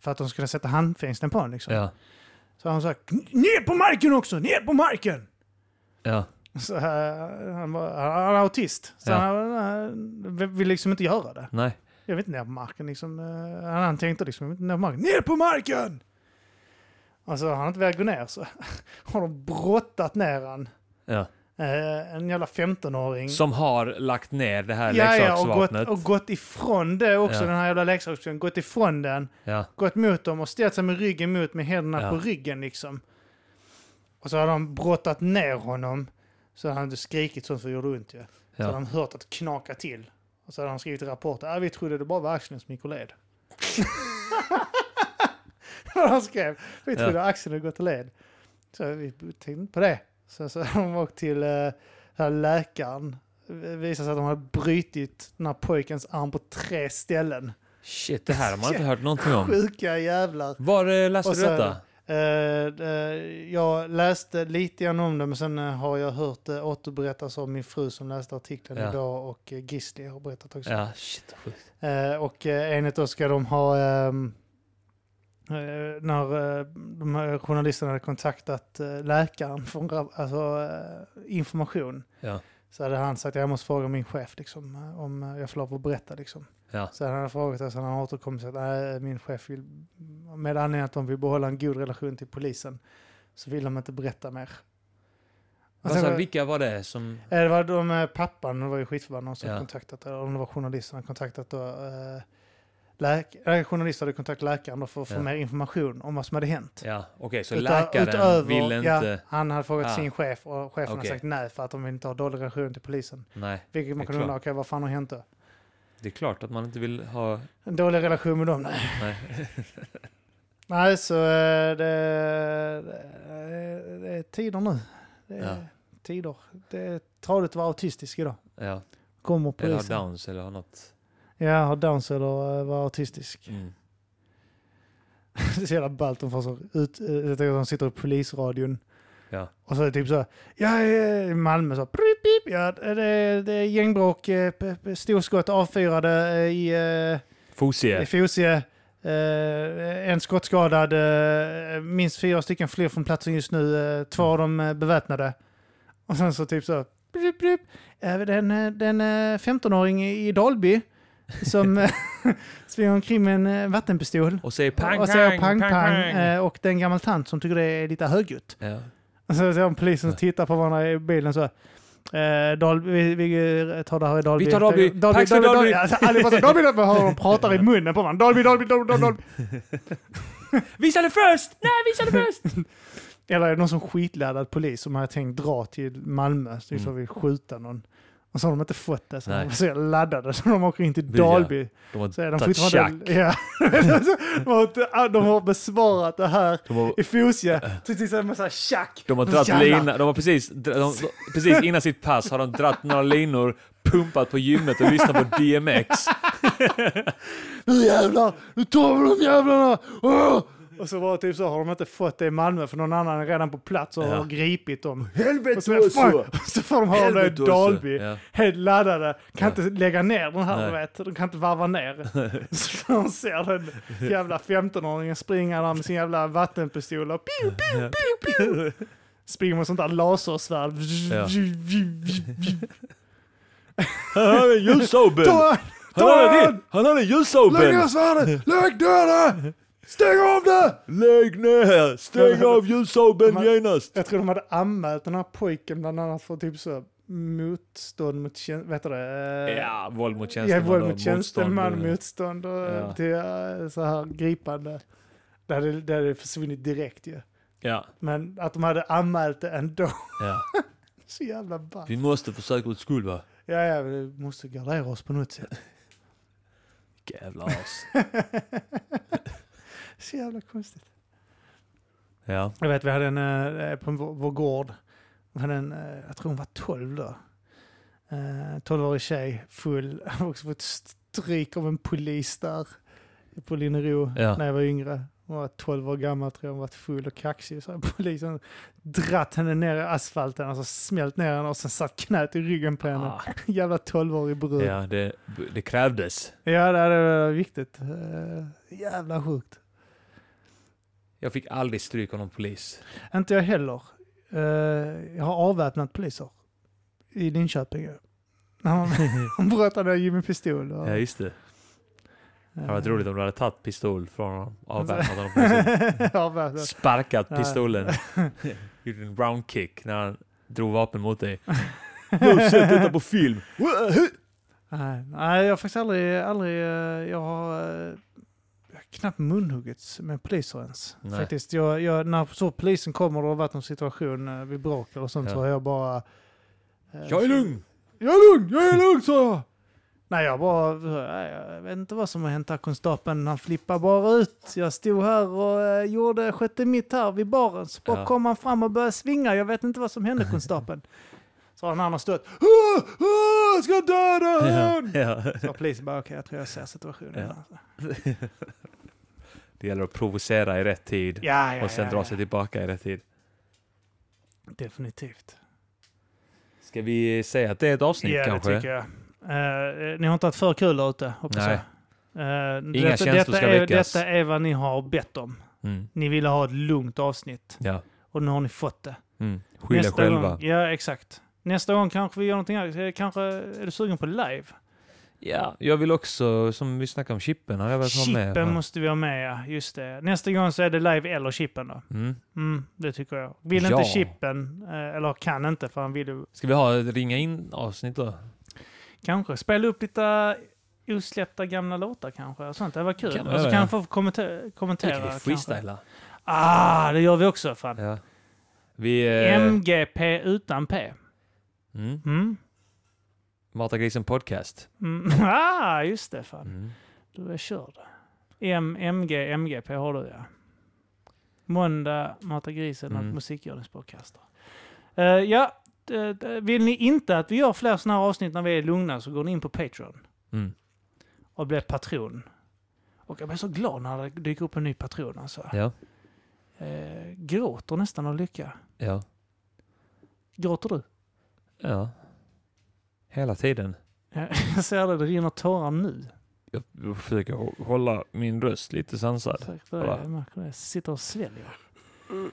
Speaker 2: för att de skulle sätta handfängslen på honom. Liksom.
Speaker 1: Ja,
Speaker 2: Så han sa ner på marken också, ner på marken!
Speaker 1: ja.
Speaker 2: Så, eh, han, var, han är autist, så
Speaker 1: Ja.
Speaker 2: han, eh, vill liksom inte göra det.
Speaker 1: Nej.
Speaker 2: Jag vill inte ner på marken liksom. Eh, Han han tänkte liksom, jag vill inte ner på marken. Ner på marken! Alltså han har inte velat gå ner så har de brottat ner han.
Speaker 1: Ja.
Speaker 2: Eh, En jävla 15-åring.
Speaker 1: Som har lagt ner det här
Speaker 2: Mm. Ja, ja, och
Speaker 1: leksaksvapnet.
Speaker 2: gått, och gått ifrån det också,
Speaker 1: Ja.
Speaker 2: den här jävla leksaksbilen. Gått ifrån den,
Speaker 1: Ja.
Speaker 2: gått mot dem och ställt sig med ryggen mot med händerna
Speaker 1: Ja.
Speaker 2: på ryggen liksom. Och så har de brottat ner honom. Så han hade skrikit sånt som gjorde ont ju. Så
Speaker 1: Ja.
Speaker 2: hade de hört att knaka till. Och så hade de skrivit i rapporten, ah, vi trodde det bara var axeln som gick ur led. Vad de skrev, vi
Speaker 1: Ja.
Speaker 2: trodde axeln hade gått ur led. Så vi tänkte inte på det. Sen så hade de åkt till eh, den här läkaren. Det visade sig att de hade brutit den här pojkens arm på tre ställen.
Speaker 1: Shit, det här har man inte hört någonting om.
Speaker 2: Sjuka jävlar.
Speaker 1: Var eh, läste
Speaker 2: Och
Speaker 1: du
Speaker 2: så-
Speaker 1: detta?
Speaker 2: Eh, eh, jag läste lite grann om det, men sen eh, har jag hört det återberättas av min fru som läste artikeln
Speaker 1: Ja.
Speaker 2: idag och eh, Gisli har berättat också.
Speaker 1: Ja, shit vad sjukt.
Speaker 2: Eh, och eh, enligt oss ska de ha, ehm, eh, när eh, de här journalisterna hade kontaktat eh, läkaren för en rap- alltså, eh, information,
Speaker 1: Ja.
Speaker 2: så hade han sagt jag måste fråga min chef liksom, eh, om eh, jag får lov att berätta. Liksom.
Speaker 1: Ja.
Speaker 2: Så han hade frågat oss, han har återkommit och sagt att min chef vill, med anledning att de vill behålla en god relation till polisen, så vill de inte berätta mer. Jag
Speaker 1: Alltså,
Speaker 2: tänker-
Speaker 1: vilka var det som...
Speaker 2: Eh, Det var de eh, pappan, det var ju skitförbannad, som
Speaker 1: Ja.
Speaker 2: kontaktat, eller om det var journalisterna, kontaktat då, eh, läk- eh, journalister hade kontaktat läkaren då för att få
Speaker 1: Ja.
Speaker 2: mer information om vad som hade hänt.
Speaker 1: Ja, okej, så
Speaker 2: Utan-
Speaker 1: läkaren ville inte...
Speaker 2: Ja, han hade frågat
Speaker 1: Ah.
Speaker 2: sin chef och chefen hade
Speaker 1: Okej.
Speaker 2: sagt nej för att de vill inte ha dålig relation till polisen.
Speaker 1: Nej,
Speaker 2: Vilket
Speaker 1: Det
Speaker 2: man
Speaker 1: är
Speaker 2: kunde undra,
Speaker 1: klart.
Speaker 2: okej vad fan har hänt då?
Speaker 1: det är klart att man inte vill ha...
Speaker 2: En dålig relation med dem? Nej.
Speaker 1: Nej.
Speaker 2: Nej, så eh, det, det, det är tider nu. Det är
Speaker 1: Ja.
Speaker 2: tider. Det är tradigt att vara autistisk idag.
Speaker 1: Ja,
Speaker 2: Kommer
Speaker 1: eller ha
Speaker 2: polisen.
Speaker 1: downs eller ha något.
Speaker 2: Ja, har downs eller eh, vara autistisk.
Speaker 1: Mm.
Speaker 2: Det är så jävla ballt. De, får så ut, eh, jag tänker att de sitter i polisradion.
Speaker 1: Ja.
Speaker 2: Och så är det typ så här, ja, eh, i Malmö så, pip, pip, ja, det, är- det är gängbråk, eh, p- p- storskott avfyrade eh, i, eh, i
Speaker 1: Fosie.
Speaker 2: Fosie. Eh, en skottskadad, eh, minst fyra stycken flyr från platsen just nu, eh, två av dem eh, beväpnade. Och sen så typ så, pip, pip, eh, den, eh, den eh, 15-åring i Dalby som eh, springer omkring med en eh, vattenpistol
Speaker 1: Och säger pang,
Speaker 2: och
Speaker 1: pang,
Speaker 2: säger
Speaker 1: pang,
Speaker 2: pang pang,
Speaker 1: pang.
Speaker 2: eh, och det är en gammal tant som tycker det är lite högljutt.
Speaker 1: Ja.
Speaker 2: Och så ser man polisen som tittar på varandra i bilen så. Eh, Dalby, vi, vi tar det här i Dalby.
Speaker 1: Vi tar Dalby.
Speaker 2: Dalby,
Speaker 1: Tack så
Speaker 2: Dalby, Dalby.
Speaker 1: Dalby.
Speaker 2: Alltså, allihopa som Dalby, Dalby, hör de pratar i munnen på varandra. Dalby, Dalby, Dalby, Dalby, Dalby.
Speaker 1: Visa det först!
Speaker 3: Nej, visa det först!
Speaker 2: Eller är det någon som skitladdad polis som har tänkt dra till Malmö så mm.
Speaker 1: Mm.
Speaker 2: vill skjuta någon. Och så har de inte fått det, så
Speaker 1: Nej.
Speaker 2: de är så jävla laddade så de åker in till
Speaker 1: Via.
Speaker 2: Dalby.
Speaker 1: De har
Speaker 2: Så är de
Speaker 1: tagit tjack.
Speaker 2: fortfarande... Ja. de, har, inte- de har besvarat det här
Speaker 1: De har,
Speaker 2: i Fosie. Så till exempel så här tjack.
Speaker 1: de har
Speaker 2: Så
Speaker 1: dratt
Speaker 2: jävla-
Speaker 1: lina, de har precis, dra- de, de, precis innan sitt pass har de dratt några linor, pumpat på gymmet och lyssnat på DMX.
Speaker 2: Nu jävlar, nu tar vi de jävlarna! Åh! Och så var det typ så, har de inte fått det i Malmö för någon annan är redan på plats och
Speaker 1: Ja.
Speaker 2: har gripit dem.
Speaker 1: Helvete
Speaker 2: Och så, fan, och så får de höra om det i
Speaker 1: Helvete, Åse.
Speaker 2: Dalby.
Speaker 1: Ja.
Speaker 2: Helt laddade, kan
Speaker 1: Ja.
Speaker 2: inte lägga ner den här,
Speaker 1: Nej.
Speaker 2: du vet. De kan inte varva ner. Så de ser den jävla 15-åringen springa där med sin jävla vattenpistol och piu, piu, piu, piu. Springer med sånt där lasersvärd.
Speaker 1: Ja. Han hade en
Speaker 2: Ta
Speaker 1: ljusobel!
Speaker 2: han!
Speaker 1: Han
Speaker 2: Ta
Speaker 1: hade det!
Speaker 2: han!
Speaker 1: Han hade en
Speaker 2: Lägg ner
Speaker 1: ljusobel!
Speaker 2: svärdet! Lägg ner det! Stäng av det!
Speaker 1: Lägg ner! Stäng av ljusobeln
Speaker 2: Man-
Speaker 1: genast!
Speaker 2: Jag tror de hade anmält den här pojken bland annat för typ så motstånd mot tjänst... Vet du det? Eh,
Speaker 1: Ja, våld mot
Speaker 2: ja,
Speaker 1: tjänsteman.
Speaker 2: våld
Speaker 1: och
Speaker 2: mot
Speaker 1: motstånd. eh,
Speaker 2: tjänsteman, motstånd och
Speaker 1: Ja.
Speaker 2: till eh, så här gripande. Det hade, det hade försvunnit direkt ju.
Speaker 1: Ja,
Speaker 2: Men att de hade anmält det ändå.
Speaker 1: ja.
Speaker 2: Så jävla ballt.
Speaker 1: Vi måste för säkerhets skull va?
Speaker 2: Ja, ja, vi måste gardera oss på något sätt.
Speaker 1: Jävla as.
Speaker 2: Så jävla konstigt.
Speaker 1: Ja.
Speaker 2: Jag vet, vi hade en eh, på vår, vår gård. Vi hade en, eh, jag tror hon var 12 då. Eh, 12-årig tjej, full. Jag har också fått stryk av en polis där på Linnero
Speaker 1: Ja.
Speaker 2: när jag var yngre. Hon var 12 år gammal tror jag, hon var full och kaxig. Så har polisen dratt henne ner i asfalten, alltså smält ner henne och sen satt knät i ryggen på henne.
Speaker 1: Ah,
Speaker 2: Jävla 12-årig brud. Ja,
Speaker 1: ja, det, det krävdes.
Speaker 2: det hade varit viktigt. Eh, jävla sjukt.
Speaker 1: Jag fick aldrig stryk av någon polis.
Speaker 2: Inte jag heller. Eh, jag har avväpnat poliser i Linköping. ju. När han- Han bröt ner Jimmy Pistol. Och,
Speaker 1: Ja, just det. Det hade varit roligt om du hade tagit pistol från honom, avväpnat honom på polisen.
Speaker 2: roligt. avväpnat.
Speaker 1: Sparkat
Speaker 2: Ja.
Speaker 1: pistolen. Gjorde en round kick när han drog vapen mot dig. Jag har sett detta på film.
Speaker 2: Nej, nej, jag har faktiskt aldrig, aldrig eh, jag har eh, jag har knappt munhuggits med poliser ens.
Speaker 1: Nej.
Speaker 2: Faktiskt, jag, jag, när så polisen kommer och det har varit någon situation eh, vid bråk eller sånt
Speaker 1: Ja.
Speaker 2: så har jag bara... eh,
Speaker 1: Jag är lugn!
Speaker 2: Jag är lugn, jag är lugn sa jag. Nej, jag bara, nej, jag vet inte vad som har hänt här konstapeln. Han flippar bara ut. Jag stod här och eh, gjorde, skötte mitt här vid baren. Så bara
Speaker 1: Ja.
Speaker 2: kom han fram och började svinga. Jag vet inte vad som hände konstapeln. Så har den andra stött.
Speaker 1: Ah, ah, jag ska döda
Speaker 2: Ja.
Speaker 1: honom! Ja.
Speaker 2: Så polisen bara, okej jag tror jag ser situationen.
Speaker 1: Ja.
Speaker 2: Ja,
Speaker 1: Det gäller att provocera i rätt tid
Speaker 2: ja, ja.
Speaker 1: och sen
Speaker 2: ja,
Speaker 1: dra
Speaker 2: ja.
Speaker 1: sig tillbaka i rätt tid.
Speaker 2: Definitivt.
Speaker 1: Ska vi säga att det är ett avsnitt
Speaker 2: Ja, det
Speaker 1: kanske?
Speaker 2: tycker jag. Eh, ni har inte haft för kul där ute, hoppas
Speaker 1: Nej.
Speaker 2: jag. Eh,
Speaker 1: Inga
Speaker 2: detta,
Speaker 1: känslor
Speaker 2: detta
Speaker 1: ska
Speaker 2: är,
Speaker 1: väckas.
Speaker 2: Detta är vad ni har bett om.
Speaker 1: Mm.
Speaker 2: Ni ville ha ett lugnt avsnitt
Speaker 1: Ja.
Speaker 2: och nu har ni fått det.
Speaker 1: Mm. Skyll er
Speaker 2: Nästa
Speaker 1: själva.
Speaker 2: Gång, ja, exakt. Nästa gång kanske vi gör någonting här. Eh, Kanske är du sugen på live?
Speaker 1: Ja, jag vill också, som vi snackade om, chippen hade jag velat ha med.
Speaker 2: Chippen måste vi ha med, ja. Just det. Nästa gång så är det live eller chippen då.
Speaker 1: Mm.
Speaker 2: Mm, det tycker jag. Vill
Speaker 1: Ja.
Speaker 2: inte chippen, eh, eller kan inte för han vill ju
Speaker 1: Ska vi ha ett ringa in avsnitt då?
Speaker 2: kanske spela upp lite osläppta gamla låtar kanske. och Sånt. Det var kul.
Speaker 1: Kan
Speaker 2: och så
Speaker 1: vi
Speaker 2: kan
Speaker 1: göra.
Speaker 2: han få kommenter- kommentera.
Speaker 1: Eller kan vi
Speaker 2: kanske.
Speaker 1: freestyla?
Speaker 2: Ah, det gör vi också fan.
Speaker 1: Ja. Vi... Eh,
Speaker 2: MGP utan P.
Speaker 1: mm.
Speaker 2: Mm.
Speaker 1: Mata grisen podcast.
Speaker 2: Mm. Ah, just det fan.
Speaker 1: Mm.
Speaker 2: Du är körd. M, MG, MGP har du ja. Måndag, Mata grisen och
Speaker 1: Mm.
Speaker 2: musikgörningspodcaster. Eh, ja, d- d- vill ni inte att vi gör fler sådana här avsnitt när vi är lugna så går ni in på Patreon
Speaker 1: Mm.
Speaker 2: och blir patron. Och jag blir så glad när det dyker upp en ny patron alltså.
Speaker 1: Ja,
Speaker 2: Eh, gråter nästan av lycka.
Speaker 1: ja,
Speaker 2: Gråter du?
Speaker 1: ja. Hela tiden.
Speaker 2: Ja, Jag ser det, det rinner tårar nu.
Speaker 1: Jag försöker hå- hålla min röst lite sansad.
Speaker 2: Exakt, det är,
Speaker 1: Kolla.
Speaker 2: jag märker det. Jag sitter och sväljer. Mm.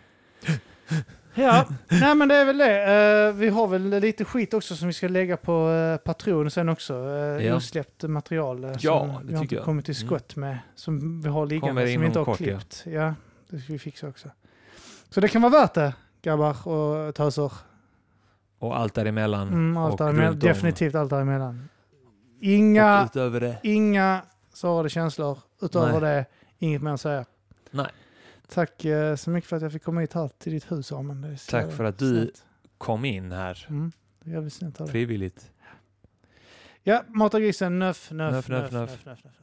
Speaker 2: Ja, nej men det är väl det. Eh, vi har väl lite skit också som vi ska lägga på uh, Patreon sen också. Uh,
Speaker 1: Ja.
Speaker 2: Osläppt material eh,
Speaker 1: Ja,
Speaker 2: som
Speaker 1: det
Speaker 2: vi
Speaker 1: tycker
Speaker 2: har inte
Speaker 1: jag.
Speaker 2: kommit till
Speaker 1: Mm.
Speaker 2: skott med. Som vi har
Speaker 1: Kommer
Speaker 2: liggande, som
Speaker 1: inom
Speaker 2: vi inte har
Speaker 1: kort, ja.
Speaker 2: klippt. Ja. det ska vi fixa också. Så det kan vara värt det, grabbar och töser.
Speaker 1: Och allt däremellan.
Speaker 2: Mm, allt
Speaker 1: och
Speaker 2: däremellan.
Speaker 1: runt om.
Speaker 2: Definitivt allt däremellan.
Speaker 1: Och
Speaker 2: Inga,
Speaker 1: utöver det.
Speaker 2: inga sårade känslor
Speaker 1: Nej.
Speaker 2: utöver det. Inget mer att säga.
Speaker 1: Nej.
Speaker 2: Tack eh, så mycket för att jag fick komma hit här till ditt hus, Arman. Det är så
Speaker 1: Tack för att du-
Speaker 2: snällt.
Speaker 1: Kom in här.
Speaker 2: Mm, det är jävligt snällt av dig.
Speaker 1: Frivilligt.
Speaker 2: Ja, mata grisen. Nöff, nöff,
Speaker 1: Nöff, nöff,
Speaker 2: nöff,
Speaker 1: nöff.
Speaker 2: nöff, nöff, nöff.